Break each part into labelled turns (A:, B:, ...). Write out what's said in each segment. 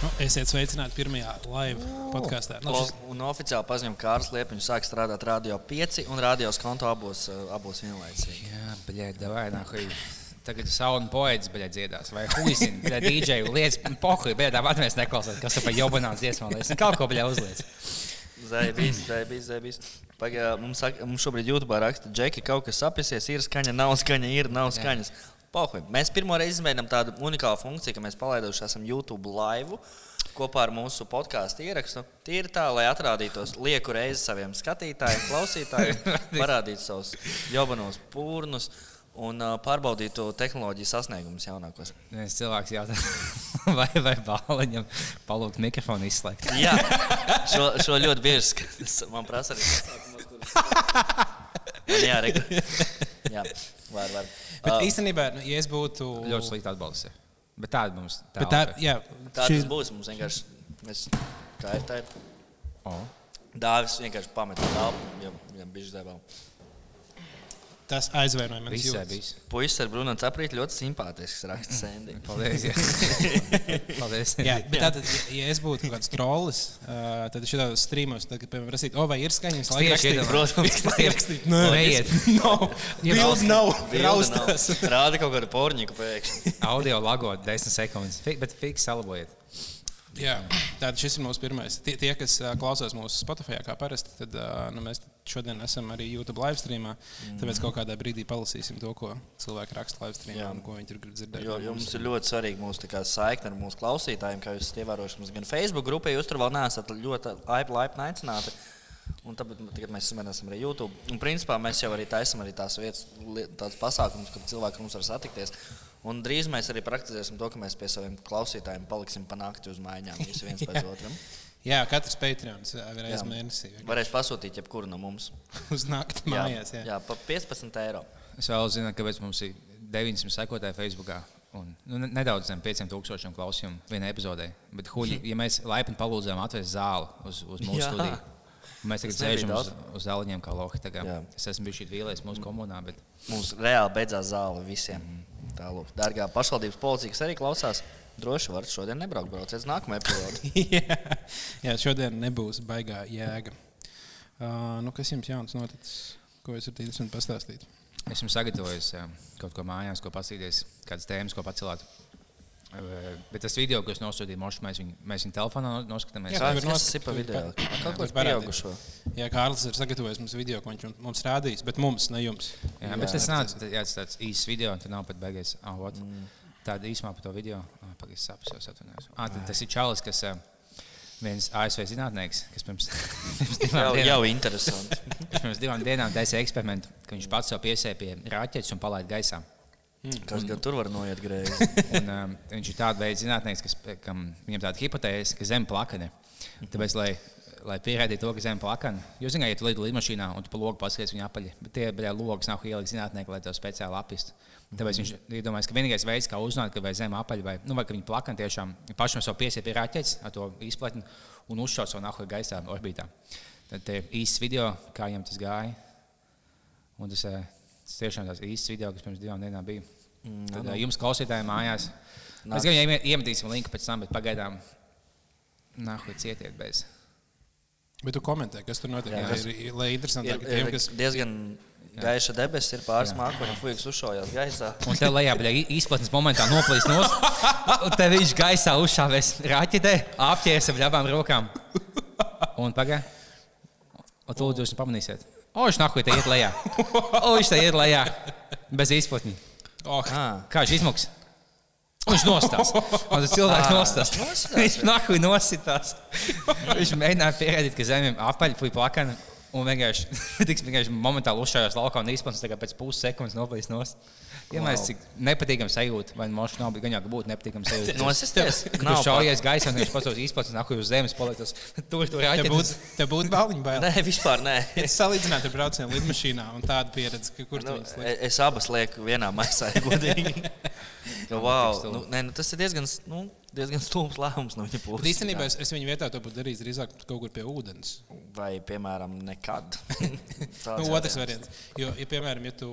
A: Nu, Esiet sveicināti pirmajā live podkāstā. Nu, šis-
B: Un oficiāli paziņoja, ka Kārs Liepiņš sāk strādāt Radio 5 un Radio kontu abos, uh, abos vienlaicīgi.
C: Jā, blēdi, davai, nahuj. Tagad sauna poets, blēdi, dziedās. Vai huizin, blēdi, dīdžeju lietas. Pohuj, blēdi, davai, mēs neklausāmies, kas ir pa jobanās dziesmā lietas. Kaut ko, blēdi, uzliec.
B: Zvaigznes, zvaigznes, zvaigznes. eh, Mums, ak- mums šobrīd YouTube raksta, ka kaut kas apjasies, ir skaņa, nav skaņa, ir nav skaņas. Pohuj. Mēs pirmo reizi izmēģinām tādu unikālu funkciju, ka mēs palaiduši esam YouTube laivu kopā ar mūsu podkāstu ierakstu. Tie ir tā, lai atrādītos lieku reizi saviem skatītājiem, klausītājiem, parādītu savus jobanos pūrnus un uh, pārbaudītu tehnoloģiju sasniegumus jaunākos.
C: Viens Nu, cilvēks jautā, vai, vai bāliņam palūgt mikrofonu izslēgt.
B: Jā, šo, šo ļoti bieži skatās. Man prasa arī pasākumos, kur- Un Jā, arī. Jā, var, var.
A: Bet
B: Uh,
A: īstenībā, nu, ja es būtu.
C: Ļoti slikti atbalsts. ir. Bet tāda mums
A: Bet tā, jā,
B: tā
A: šis,
B: tas būs. Mums vienkārši. Mēs, tā ir tā. ir.
C: Oh.
B: Dāvis vienkārši pameta tālu, ja, ja bija debela.
A: tas aizvainoja manas
C: Visai
A: jūtas.
C: bija.
B: Puisis ar brūnu caprīti ļoti simpātisks raksts Sandy.
C: Paldies. jā. Paldies.
A: Jā, bet tātad, ja- ja es būtu kaut kāds trolls, uh, tad šādos streamos, tad, kad, piemēram, prasītu, o, vai ir skaņas, lai rakstītu,
C: Protams,
A: lai rakstītu, nē,
C: neiet.
A: nav, bildi nav,
B: Bilde nav.
A: raustās.
B: Rāda kaut kādu porņiku pēkšņi.
C: Audio lagot 10 sekundes, Fi- bet fiks salabojiet.
A: Jā, tātad šis ir mūsu pirmais. Tie, tie kas ā, klausās mūsu Spotify, kā parasti, tad ā, nu, mēs šodien esam arī YouTube live streamā. Tāpēc kaut kādā brīdī palasīsim to, ko cilvēki raksta live streamā
B: Jā.
A: un ko viņi tur grib dzirdēt.
B: Jo, jo mums ir ļoti svarīga mūsu tā kā saikne ar mūsu klausītājiem, kā jūs esat ievērojuši. Mums gan Facebook grupē, jūs tur vēl neesat ļoti laipni laipni aicināti. Un tāpēc nu, tagad mēs samazinām arī YouTube. Un principā mēs jau arī taisām arī tās vietas, li- tādas pasākumus, kur cilvēki ar mums var satikties. Un drīz mēs arī praktizēsim to, ka mēs pie saviem klausītājiem paliksim panākti uz mājām. Visi viens pēc otram.
A: Jā, katrs Patreons ā, vienreiz
B: Jā.
A: mēnesī vienkārši
B: Varēs pasūtīt jebkuru no mums.
A: uznākt mājās. Jā.
B: jā pa 15 eiro.
C: Es vēl zinu, kāpēc mums ir 900 sekotāji Facebook. Un, nu, ne- nedaudz zem 5000 klausījumu vienā epizodē. Bet, huļi, ja mēs laipni palūdzām atvērt zāli uz, uz mūsu
B: Jā.
C: studiju, un mēs tagad
B: Tas nebija
C: sēžam uz,
B: daudz.
C: uz zāliņiem kā lohi. tā kā.
B: Jā.
C: Es esmu bijis šeit vīlies mūsu komunā, bet
B: Mums reāli beidzās zāle visiem. Tālāk, dārgā pašvaldības policija, kas arī klausās, droši varat šodien nebraukt. Brauciet uz nākamo epizodu.
A: jā. jā, šodien nebūs baigā jēga. Uh, nu, kas jums jauns noticis? Ko jūs varat īstenībā pastāstīt?
C: esmu sagatavojis jā, kaut ko mājās, ko paskatīties, kādas tēmas, ko pacelāt. Eh, Bet tas video, ko es nosūtīju Mošu, mēs viņu, mēs viņu telefonā no- noskatāmies.
A: Jā.
C: Jā.
B: Kāds
A: tur
B: tas
A: nost-
B: ir pa video?
A: tur pa-
B: Kaut
A: tur
B: kas
A: parādīt.
B: pieaugušo.
A: Jā, Kārlis ir sagatavojis mums video, ko viņš jums- mums rādīs, bet mums, ne jums.
C: Jā, bet tas nāca jā, tas tāds īsts video, un tur nav pat beigas. Oh, mm. Tāda īsumā par to video. Oh, Pagaidiet, sapnis jau atvainojos. Ah, tad tas ir Čālijs, kas eh, viens ASV zinātnieks, kas pirms, pirms,
B: Jau,
C: divām
B: jau
C: dienām,
B: interesanti.
C: pirms divām dienām taisīja eksperimentu, ka viņš pats sev piesēja pie raķetes un palaida gaisā.
B: Mm. Kas gan tur var noiet greizi?
C: Un, um, viņš ir tāds veids zinātnēks, kas kam, viņam tāda hipotēze, ka zem plakane. Tāpēc, lai, lai pierādītu to, ka zem plakane, jūs zināt, ja tu lidi lidmašīnā un tu pa logu paskaties viņa apaļi, bet tie bija logs, nav ielikt zinātnieki, lai to speciāli apistu. Tāpēc viņš iedomājās, ka vienīgais veids, kā uzzināt, ka vai zem apaļi vai, nu, vai ka viņa plakane tiešām pašam savu piesiet pie raķetes ar to izplatni un uzšaut savu nahu gaisā orbītā. Tad te ir īsts video, kā viņam tas gāja. Un tas, eh, tas tiešām tas īsts video, kas pirms divām dienām bija. Tad, eh, jums klausītājiem mājās. Mēs gan iemet- iemetīsim linku pēc tam, bet pagaidām nāku cietiet bez.
A: Bet tu komentē, kas tur notiek. Jā,
B: Jā,
A: kas... Ir, lai
B: Ir,
A: interesantāk ir tiem,
B: ir
A: kas
B: diezgan gaiša debesis, ir pāris mākoņi, fujiks uzšaujās gaisā.
C: Un te lejā bija izplatnes momentā noplīst no stūra. Un te viņš gaisā uzšāvis raķetē, apķēries ar abām rokām. Un pagaidi. Un tu lūdzu, jūs pamanīsiet. O, viņš nāku te iet lejā. O, viņš te iet lejā. Bez izplatnes.
A: oh,
B: Ah.
C: Kā viņš izmaksā? Viņš nostājās. Un tas cilvēks
B: Ā,
C: nostājās.
B: nostās.
C: Viņš nahuj nositās. Viņš mēģināja pierādīt, ka zemēm apaļ, fuj plakana. Un vienkārši, tiks, vienkārši momentāli uzšājās laukā un īstenībā tikai pēc puses sekundes noplīs nost. Iedomājieties, cik nepatīkams sajūta. Vai mums nav bijis gaņā, ka būtu nepatīkams sajūta.
B: Nosisties?
C: Nav
B: Nav
C: šaujies gaisā, un viņš pats izplatīs, nahuj uz zemes palicis. Tur tur
A: te
C: jāķer.
A: būtu te būt baliņu bail.
B: Nē, vispār nē.
A: Es salīdzinātu ar braucienu lidmašīnā un tādu pieredzi, ka kur
B: Nu,
A: nu, tas ir.
B: e- es abas lieku vienā maisā, ja godīgi. Jo, wow, nu, nē, nu, tas ir diezgan s- nu, diezgan stulbs lēmums no viņa
A: Bet
B: puses.
A: īstenībā es, es viņu vietā to būtu darījis drīzāk kaut kur pie ūdens.
B: Vai, piemēram, nekad. Tāds
A: Nu, otrs variants. Jo, ja, piemēram, ja, tu,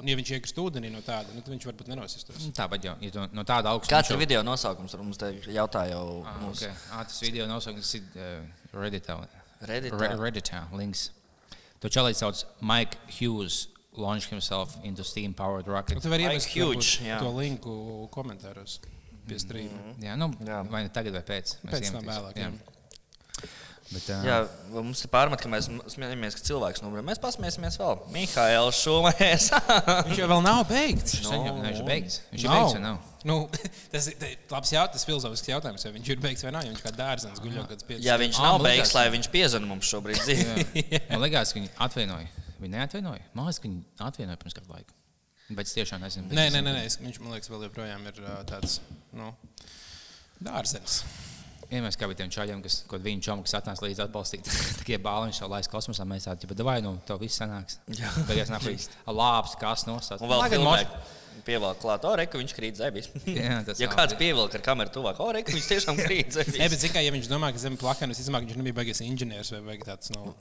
A: nu, ja viņš iekrist ūdenī no tāda, nu, tad viņš varbūt nenosistos.
C: Tāpat jau ja tu no tāda augsta
B: Kāds ir video nosaukums? Mums te jautā jau mūsu
C: Okay. Ah, tas video nosaukums ir uh, Redditā.
B: Redditā.
C: Re- Redditā links. To čalis sauc Mike Hughes launched himself into steam-powered rocket.
A: Nu, tu vari
B: Like
A: ielikt
B: huge,
A: varbūt
B: jā. Mhm.
A: to linku komentāros pie streama. Mm -hmm.
C: Jā, nu, jā.
B: Jā.
C: Vai nu tagad vai pēc? Mēs
A: Pēc tam
C: iemetīsim.
A: vēlāk. Jā.
C: Bet, uh, jā.
B: Jā, vai mums ir pārmet, ka mēs smiežamies, ka cilvēks nomira. Mēs pasmiežamies vēl. Mihails Šumēs.
A: Viņš jau vēl nav beigts.
C: Viņš saņem- viņš ir beigts. Viņš ir
A: Nav.
C: beigts vai nav?
A: Nu, tas ir te- labs jautājums, filozofisks jautājums. Vai viņš ir beigts vai nav? Ja viņš kā dārzens guļ jau kāds pieci.
B: Jā, viņš
C: Ā,
B: nav
C: man
B: beigs,
C: liekas.
B: lai viņš piezvanītu mums šobrīd. dzīvi.
C: Man liekas, ka viņi atvainoja. Viņi neatvainoja. Man liekas, ka viņi atvainoja pirms kāda laika. Bet es tiešām nezinu.
A: Nē, nē, nē, nē, es- viņš man liekas, vēl joprojām ir ā, tāds nu, dārzens.
C: Vienmēr kā bija tiem čaļiem, kas kaut kādā veidā čomu, kas atnāca līdzi atbalstīt, tikai bāliņš jau laisa kosmosā. Mēs tādu jau dabūjām, nu, tev viss sanāks.
B: Jā.
C: Beigās nāk līdz lāps, kas nosauc.
B: Un vēl filmē. Pievilkt klāt, o, reku, viņš krīt zebīs.
C: Jā, tas
B: ja
C: labi.
B: kāds pievilka ar kameru tuvāk, o, reku, viņš tiešām krīt
A: Nē, bet
B: zebīs.
A: tikai ja viņš domā, ka zem plakāna visticamāk viņš nebija beigas inženieris vai beigas tāds. Nu,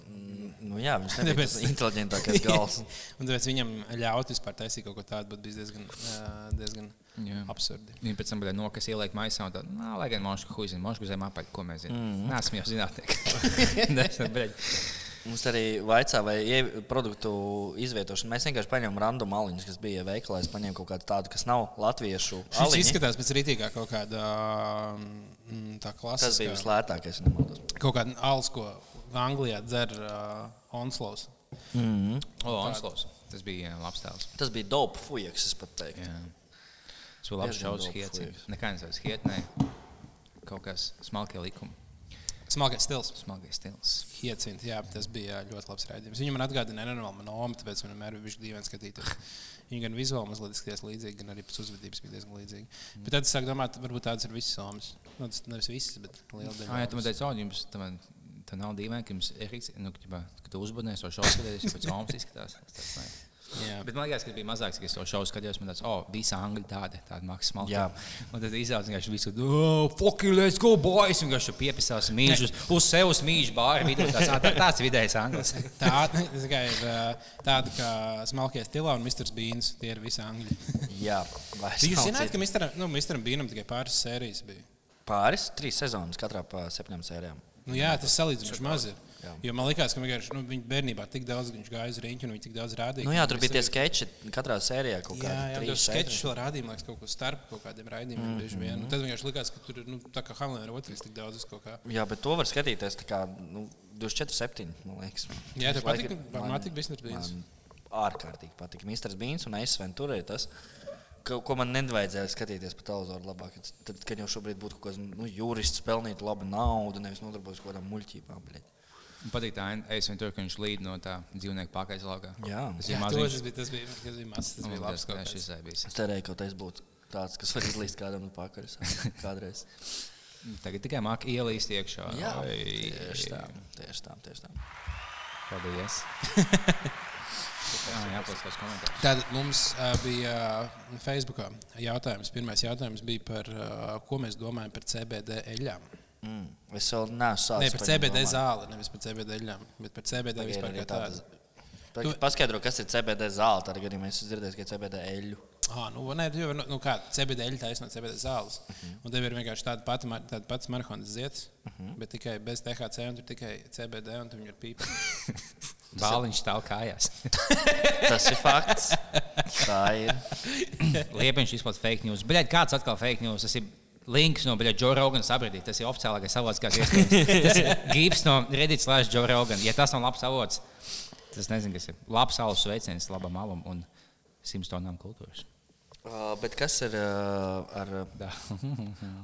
B: Nu, jā, viņš nebija
A: Tāpēc-
B: tas inteliģentākais gals.
A: un tāpēc viņam ļaut vispār taisīt kaut ko tādu, bet bija diezgan, ā, diezgan
C: Jā.
A: absurdi.
C: Viņa pēc tam bija nokas, ielika maisā. un tā, Nā, lai gan monška huizina, monška zem apaļ, ko mēs zinām. Mm. Nē, esmu jau zinātnieki. Nē, esmu beļķis.
B: Mums arī vaicā, vai ie- produktu izvietošana. Mēs vienkārši paņēmām randomu aliņus, kas bija veikalā. Es paņēmu kaut kādu tādu, kas nav latviešu.
A: Viņš
B: aliņi.
A: izskatās pēc rītīgā kaut kāda mm, tā klasiskā.
B: Tas bija vislētākais. ja nemaldos.
A: kaut kāda alus, ko Anglijā dzer uh, Onslows. Mhm.
C: O, Onslovs. Tas bija jā, labs tēls.
B: Tas bija dope fujaks, es pat teiktu.
C: Jā. Tas bija labs
B: Diezgan
C: šausmas
B: daudz
C: hiets.
B: fujas.
C: Nekā nesauc hiet, nē. Kaut kas smalkie likumi,
A: Smalkais stils.
C: smalkie stils.
A: Hiecint, jā, tas bija ļoti labs rādījums. Viņam man atgādina nenormālu nomu, tāpēc man vienmēr bija dīvaini skatīties. Viņa gan vizuāli mazliet skatījās līdzīgi, gan arī pēc uzvedības bija diezgan līdzīga. Mm. Bet tad es sāku domāt, varbūt tādas ir visas somas. Nu, tas nevis visas, bet liela daļa.
C: Ah, jā, tu man
A: somas.
C: teici, oh, jums tā, man, tā nav dīvaini, ka jums ir rīks, nu, ka, ka tu uzbudinies, vai šausmas skaties, jau pēc omas izskatās. Es tāds, nē.
A: jā.
C: Nu, Bet man liekas, ka bija mazāks, ka es to šausmu skatījos, man tāds, oh, visa angļu tāda, tāda maksas malka.
B: Jā.
C: Un tad izrādās, ka viņš visu, oh, fuck you, let's go, boys, un viņš piepisās mīžus, uz sevis mīžu bāri, vidū tāds, tā, tāds vidējs anglis.
A: Tā tā kā ir ā, tāda kā smalkais stilā un Mr. Beans. Tie ir visi angļi.
B: Jā, vai es
A: Jūs
B: nav
A: zināt,
B: citu.
A: ka Mr. Nu, Mr. Beanam tikai pāris sērijas bija.
B: pāris, trīs sezonas, katrā pa septiņām sērijām.
A: Nu, jā, tas salīdzinoši maz ir.
B: Jā.
A: Jo man liekas, ka vienkārši, nu, viņa bērnībā tik daudz viņš gāja uz rīņķi, un viņi tik daudz rādīja.
B: Nu, jā, tur
A: ka
B: bija tie
A: visi-
B: sketči katrā sērijā kaut
A: Jā, jā,
B: kādā
A: tur sketčs vēl rādīja, man liekas, kaut ko starp kaut kādiem raidījumiem.
B: Mhm,
A: Mm -hmm. vien. Nu, tad vienkārši likās, ka tur ir nu, tā kā Hamlina rotas tik daudz uz kaut kā.
B: Jā, bet to var skatīties tā kā nu, 24, 7. Man liekas,
A: Jā, tev
B: Visu laiku
A: patika?
B: ir-
A: Man patika Mr. Beans.
B: man Ārkārtīgi patika. Mr. Beans un Aizsvens tur ir tas. Ko, ko man nevajadzēja skatīties pa televizoru labāk. Tad, kad jau šobrīd būtu kaut kāds nu, jurists, pelnīt labu naudu, nevis nodarbojas ar kaut kādām muļķībām. bļaļ.
C: Man patīk tā, es viņu tur, ka viņš līd no tā dzīvnieku pakaļ laukā.
B: Jā.
C: tas
A: Jā,
C: ir
A: to,
C: mazs.
A: tas bija, tas bija, tas bija mazs, tas bija labs kaut
C: Tas
A: kas.
C: ir bijis.
B: Es cerēju, ka tas būs tāds, kas var izlīst kādam no pakaļas. Kādreiz.
C: Nu, Tagad tikai māk ielīst iekšā.
B: Jā,
C: Ai,
B: tieši tā, tieši tā, tieši tā.
C: Paldies. Jā, paskatās komentārus.
A: Tātad mums uh, bija uh, Facebookā jautājums. Pirmais jautājums bija par, uh, ko mēs domājam par CBD eļām.
B: Mm. Es vēl neesmu
A: Nē,
B: sācis.
A: par CBD zāli, nevis par CBD eļām, bet par CBD vispār kā tādu.
B: Tu... Paskaidro, kas ir CBD zāle. Tad, kad mēs dzirdēsim, ka ir CBD eļļu.
A: Ah, nu, nē, tu jau vari, nu, kā CBD ir taisnība, CBD zāles.
B: Mhm.
A: Un tev ir vienkārši tāda pati, mar- tāda pati marihuānas zieds, bet tikai bez THC, un tur tikai CBD, un tur ir pīpa.
C: Bāliņš stāv kājās.
B: Tas ir fakts. Tā ir.
C: Liepiņš izplatīja fake news. Bļaļ, kāds atkal fake news? Tas ir links no Bļaļ, Joe Rogan sabradīt. Tas ir oficiālākais avots, kas iespējams. Tas ir gibs no Reddit slash Joe Rogan. Ja tas nav labs avots, tas nezinu, kas ir. Labs alus sveiciens labam alam un simts tonām kultūras.
B: Uh, bet kas ir uh, ar
C: Tā.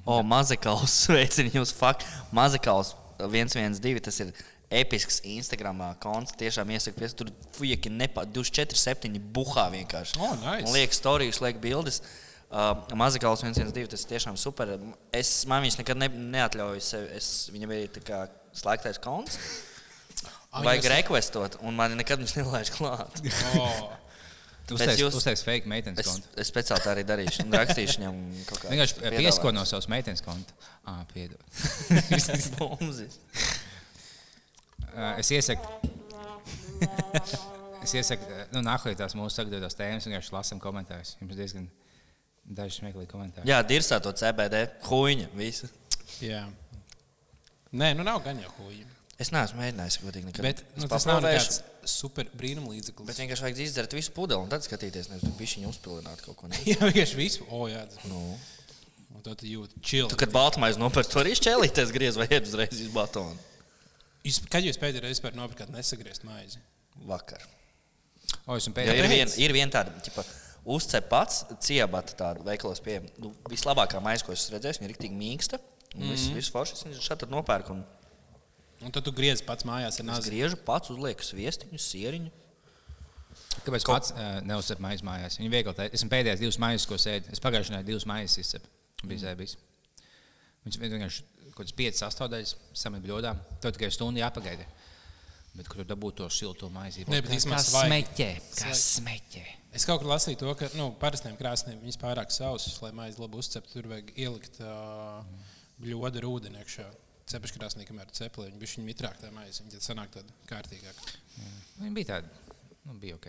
B: oh, Mazekaus? Sveicinu jūs, Fak. Mazekaus 112. Tas ir episks Instagram uh, konts. Tiešām iesaku, pie tur fujaki nepa 24, 7 buhā vienkārši.
A: O, nice.
B: Un Liek storijas, liek bildes. Uh, Mazekaus 112. Tas ir tiešām super. Es man viņš nekad ne, neatļauju sev. Es, viņam bija tā kā slēgtais konts.
A: Ah,
B: Vajag
A: jūs-
B: rekvestot, un man nekad viņš nelaiž klāt.
A: O,
C: Uztais,
B: jūs-
C: jūs... uztais fake meitenes
B: Es,
C: kontu.
B: es speciāli tā arī darīšu. un Rakstīšu viņam kaut kādu
C: Vienkārši piesko no savas meitenes konta. Ah, piedod.
B: visas bumbas.
C: Ā, Es iesaku. es iesaku, ā, nu, nākamajā tās mūsu sagatavotās tēmas, vienkārši lasām komentārus. Jums diezgan daži smieklīgi komentāri.
B: Jā, dirsā to CBD huīņa. visu.
A: Jā. Nē, nu nav gan jau huīja.
B: Es neesmu mēģinājis, godīgi. Nekad.
A: Bet
B: Es
A: nu, tas nav
B: paprovēršu,
A: tāds super brīnumlīdzeklis.
B: Bet vienkārši vajag izdzert visu pudeli un tad skatīties, nevis pišķiņu uzpilināt kaut ko. Ne?
A: Jā, vienkārši visu. O, jā, tas-
B: Nu.
A: un tad jūt čili.
B: Tu, kad Baltmaiņas nopērci, to arī šķēlīties griez vai iet uzreiz uz batonu.
A: Jūs, kad jūs pēdējo reizi vispār nopirkat nesagriezt maizi?
B: Vakar.
C: O, es esmu
B: Jo ir
C: pēdējais.
B: viena ir vien tāda, ka uzcep pats ciebata tādu veikalos pie nu, vislabākā maize, ko esmu redzējis. Viņa ir tik mīksta. Mm -hmm.
A: Mhm.
B: Viss, viss foršs, viņš šeit tad nopērk. un
A: Un tad tu griez pats mājās ar
B: Es
A: nāzi.
B: griežu pats, uzlieku sviestiņu, sieriņu.
C: Kāpēc Ko... pats uh, neuzsver maijas mājās? Viņa viegli tā. Esmu pēdējais divas maijas, ko sēdu. Es pagājušajā nedēļā divas maijas izcepu.
A: Mm.
C: Bija zēbis. Viņš vienkārši kaut kāds 5, 8 daļas samet bļodā. Tev tikai stundu jāpagaida. Bet kur tu dabūji to silto maizību?
A: Nē, bet
C: Kā-
A: īstenībā
C: kā
A: svaigi.
C: smeķē. Kā smeķē.
A: Es kaut kur lasīju to, ka nu, parastiem krāsniem viņas pārāk sausas, lai maizi labi uzceptu. Tur vajag ielikt uh, bļodu ar ūdeni iekšā. Cepeškrāsnī, kamēr cepli, viņa bija mitrāk tā maize. Viņa tad sanāk tāda kārtīgāka.
C: Viņa bija tāda. Nu, bija ok.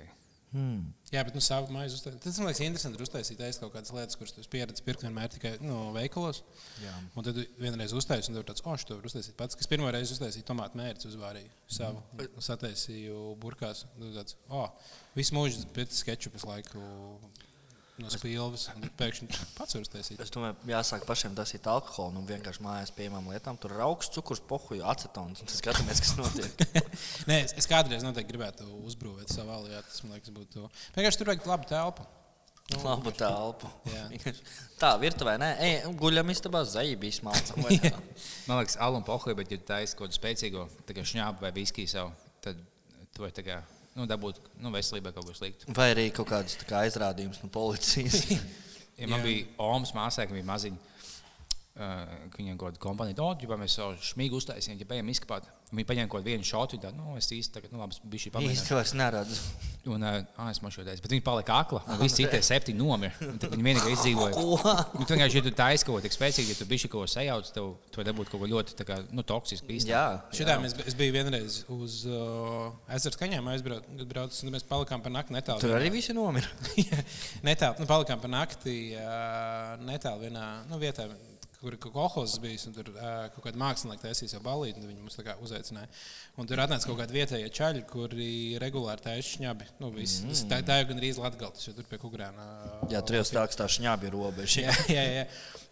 A: Jā, bet nu, savu maizi uztaisīt. Tas man liekas, interesanti ir uztaisīt aiz kaut kādas lietas, kuras tu esi pieredzējis pirkt vienmēr tikai nu, veikalos. Jā. Un tad tu vienreiz uztaisīji, un tev ir tāds, oh, to var uztaisīt pats. Kas pirmo reizi uztaisīja tomātu mērķi, uzvārīju savu, mm. sataisīju burkās. un tad Tāds, oh, visu mūžu pēc sketčupas laiku no spilves. un tad Pēkšņi pats var uztaisīt.
B: Es domāju, jāsāk pašiem tasīt alkoholu un vienkārši mājās pieejamām lietām. Tur ir augsts cukurs, pohuļu, acetons. un Tad skatāmies, kas notiek.
A: Nē, es, es kādreiz noteikti gribētu uzbrūvēt savā līnijā. Tas man liekas, būtu. Vienkārši tur vajag labu telpu.
B: Nu, Labu telpu.
A: Jā.
B: Vienkārši Tā, virtuvē, nē, ej, guļam istabā, zaļbīs mācām.
C: Man liekas, alu un pohoja, bet, ja taisīs kaut ko spēcīgu, tā kā šņābu vai viskiju savu, tad to ir tā kā, nu, dabūt, nu, veselībai kaut ko sliktu.
B: Vai arī kaut kādas tā kā, aizrādījumus no policijas.
C: Ja
A: Jā.
C: man Jā. bija Omas māsai, kas bija maziņa. Uh, viņa kaut kāda kompānija, no kuras mēs jau smīgi uztaisījām, ja bijām izkapāti. Viņa paņēma kaut kādu vienu šādu tādu, nu, es īsti tagad, nu, labi, bija šī pamēģinājuma.
B: Īsti vairs neredzu.
C: Un, uh, es mašoties, bet viņa palika akla, un visi citie septiņi nomira. Un Tad viņa vienīgi izdzīvoja. Nu, tu vienkārši, ja tu taisīji kaut ko tik spēcīgu, ja tu biji kaut ko sajaucis, tev to dabūt kaut ko ļoti, tā kā, nu, toksisku. īstenībā.
B: Jā,
A: Šitā mēs es biju vienreiz uz uh, ezera skaņām, aizbraucis, un mēs palikām par nakti netālu.
B: Tur arī viss nomira.
A: Jā, netālu, nu, palikām par nakti uh, netālu vienā nu, vietā, kur bija kolekcijas bijis. un Tur uh, kaut kāda mākslinieka taisīja jau balīti, un viņi mums tā kā uzaicināja. Un tur atnāca kaut kāda vietējā čaļa, kuri regulāri taisīja šņabi. Nu, viss. Tas- tā, tā jau gan arī Latvijas Banka, jo tur pie Kukrāna. Uh,
B: Mm. Jā, tur jau stāsta tā šņābi robeža.
A: jā, jā, jā.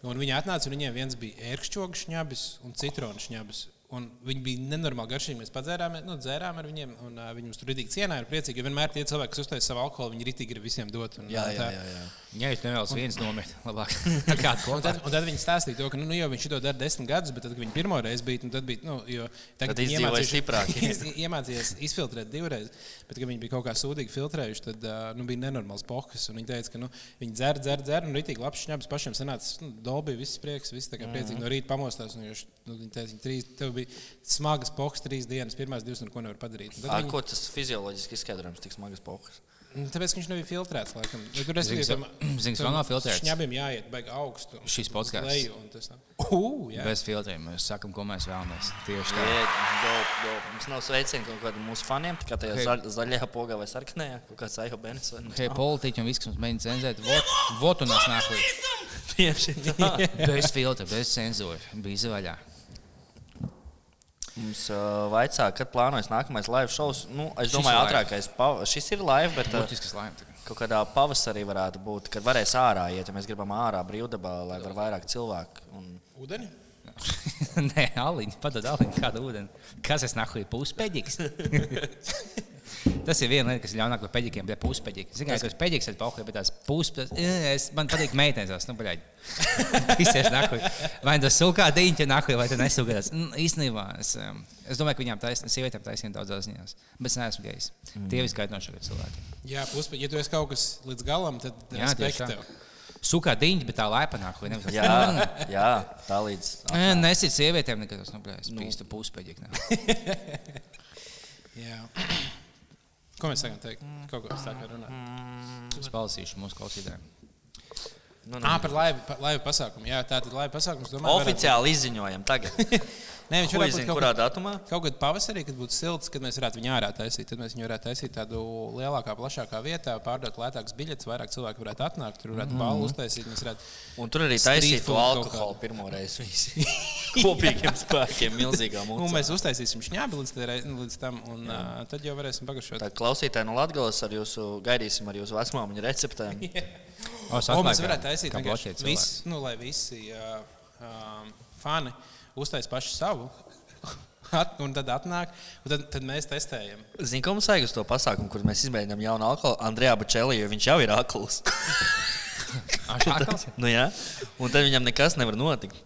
A: Un viņi atnāca, un viņiem viens bija ērkšķogs šņabis un citronu šņabis. Un viņi bija nenormāli garšīgi. Mēs padzērām, nu, dzērām ar viņiem, un uh, viņi mums tur ritīgi cienāja. Ir priecīgi, jo vienmēr tie cilvēki, kas uztaisīja savu alkoholu, viņi ritīgi grib visiem dot. Un,
B: Jā,
A: un
B: jā,
A: tā.
B: jā. jā.
C: Ja jūs nevēlaties viens nomirt, labāk ar kādu
A: Un tad,
C: kontaktu.
A: un tad viņi stāstīja, to, ka nu, nu, jau viņš to dara desmit gadus, bet tad, kad viņi pirmo reizi bija, nu, tad bija. Nu, jo,
B: Tad
A: viņi
B: izdzīvoja
A: iemācījuši-
B: stiprākie.
A: iz- iemācījās izfiltrēt divreiz, bet, kad viņi bija kaut kā sūdīgi filtrējuši, tad ā, nu, bija nenormāls pokas. Viņi teica, ka nu, viņi dzer, dzer, dzer, un rītīgi labs šņabs pašiem sanāca. Nu, Dolbi bija viss prieks, viss tā kā
B: Mhm.
A: priecīgi no rīta pamostās. Un, vienkārši, nu, viņi teica, ka trīs, tev bija smagas pokas trīs dienas, pirmās divas, un ko nevar padarīt. Un tad
B: Ar
A: viņi-
B: ko tas fizioloģiski izskaidrojams, tik smagas pokas?
A: nu, Tāpēc, ka viņš nebija filtrēts, laikam. Nu, Tur es
C: Zini,
A: tam-
C: kas- zini, kas
A: tam
C: vēl nav filtrēts?
A: Šņabiem jāiet baigi augstu.
C: Šis
A: uz
C: podcasts.
A: leju, un tas nav- Ū, jā.
C: Bez filtriem mēs sakām, ko mēs vēlamies. Tieši tā.
B: Jā, dope, dope. Mums nav sveicieni kaut kādiem mūsu faniem, tikai tajā
C: Hei.
B: zaļ, zaļajā pogā vai sarkanajā, kaut kāds aihobens vai
C: Hei, politiķi un viss, kas mums mēģina cenzēt, vot, vot un nāc nākamais.
B: Tieši tā.
C: Bez filtra, bez cenzūra, bija zvaigžā.
B: Mums uh, vaicā, kad plānojas nākamais live šovs. Nu, es
C: Šis
B: domāju,
C: ir live.
B: ātrākais pav... šis ir live, bet uh,
C: Būtisks laimes.
B: kaut kādā pavasarī varētu būt, kad varēs ārā iet, ja mēs gribam ārā brīvdabā, lai var vairāk cilvēku. Un...
A: Ūdeni?
C: Nē, Aliņa, padod Aliņa kādu ūdeni. Kas es nāku, ir puspēdīgs? Tas ir viena lieta, kas ir ļaunāk par peļķiem, bet puspēdīgi. Ziniet, kas ir peļķis, ir pauhļi, bet tās puspēdīgas. Man patīk meitenes, tās, nu, baļķi. Visies nāku. Vai tas sūkā diņķi nāku, vai tas nesūkās. Mm, Īstenībā, es, em, es domāju, ka viņām taisnība, sievietēm taisnība daudzās ziņās. Bet es neesmu gejs. Tie viskaitinošākie cilvēki.
A: Jā, puspēji. Ja tu esi kaut kas līdz galam, tad
C: Jā, tieši tā. Sūkā diņķi, bet tā laipa nāk, vai nevis.
B: Jā, jā, tā līdz.
C: Nē, Nesit sievietēm, nekad tas nav bijis. Pīstu puspēdīgi.
A: Jā. Ko mēs sākām teikt? Kaut ko sākām runāt.
C: Es palasīšu mūsu klausītājiem.
B: Nu, nu.
A: Ah, par laivu, pa, laivu pasākumu. Jā, tā tad laivu pasākums. Domāju,
B: Oficiāli izziņojam tagad.
A: Varētu, ne, viņš
B: Ko
A: varētu
B: izzina,
A: būt kaut,
B: kurā
A: kad,
B: datumā?
A: kaut kad pavasarī, kad būtu silts, kad mēs varētu viņu ārā taisīt. Tad mēs viņu varētu taisīt tādā lielākā, plašākā vietā, pārdot lētākus biļetes, vairāk cilvēku varētu atnākt, tur
C: Mm.
A: varētu balvu uztaisīt. Mēs varētu
B: Un tur arī
A: Street
B: taisīja to
A: food kaut
B: alkoholu pirmo reizi. visi. Kopīgiem spēkiem, milzīgām
A: Un
B: mūzikām.
A: Nu, mēs uztaisīsim šņābi līdz, tai rei- līdz tam, un uh, tad jau varēsim pagaršot.
B: Tā klausītāji no Latvijas ar jūsu gaidīsim ar jūsu vecmāmiņu receptēm.
C: O,
A: O, mēs varētu taisīt
C: kā
A: vienkārši
C: bloķēt cilvēku.
A: visu, nu, lai visi uh, um, fani uztais pašu savu. At, un tad atnāk, un tad, tad mēs testējam.
B: Zini, ko mums vajag uz to pasākumu, kur mēs izmēģinām jaunu alkoholu? Andrejā Bačelī, jo viņš jau ir akls.
C: Ā, šis atkal?
B: nu, jā. un tad viņam nekas nevar notikt.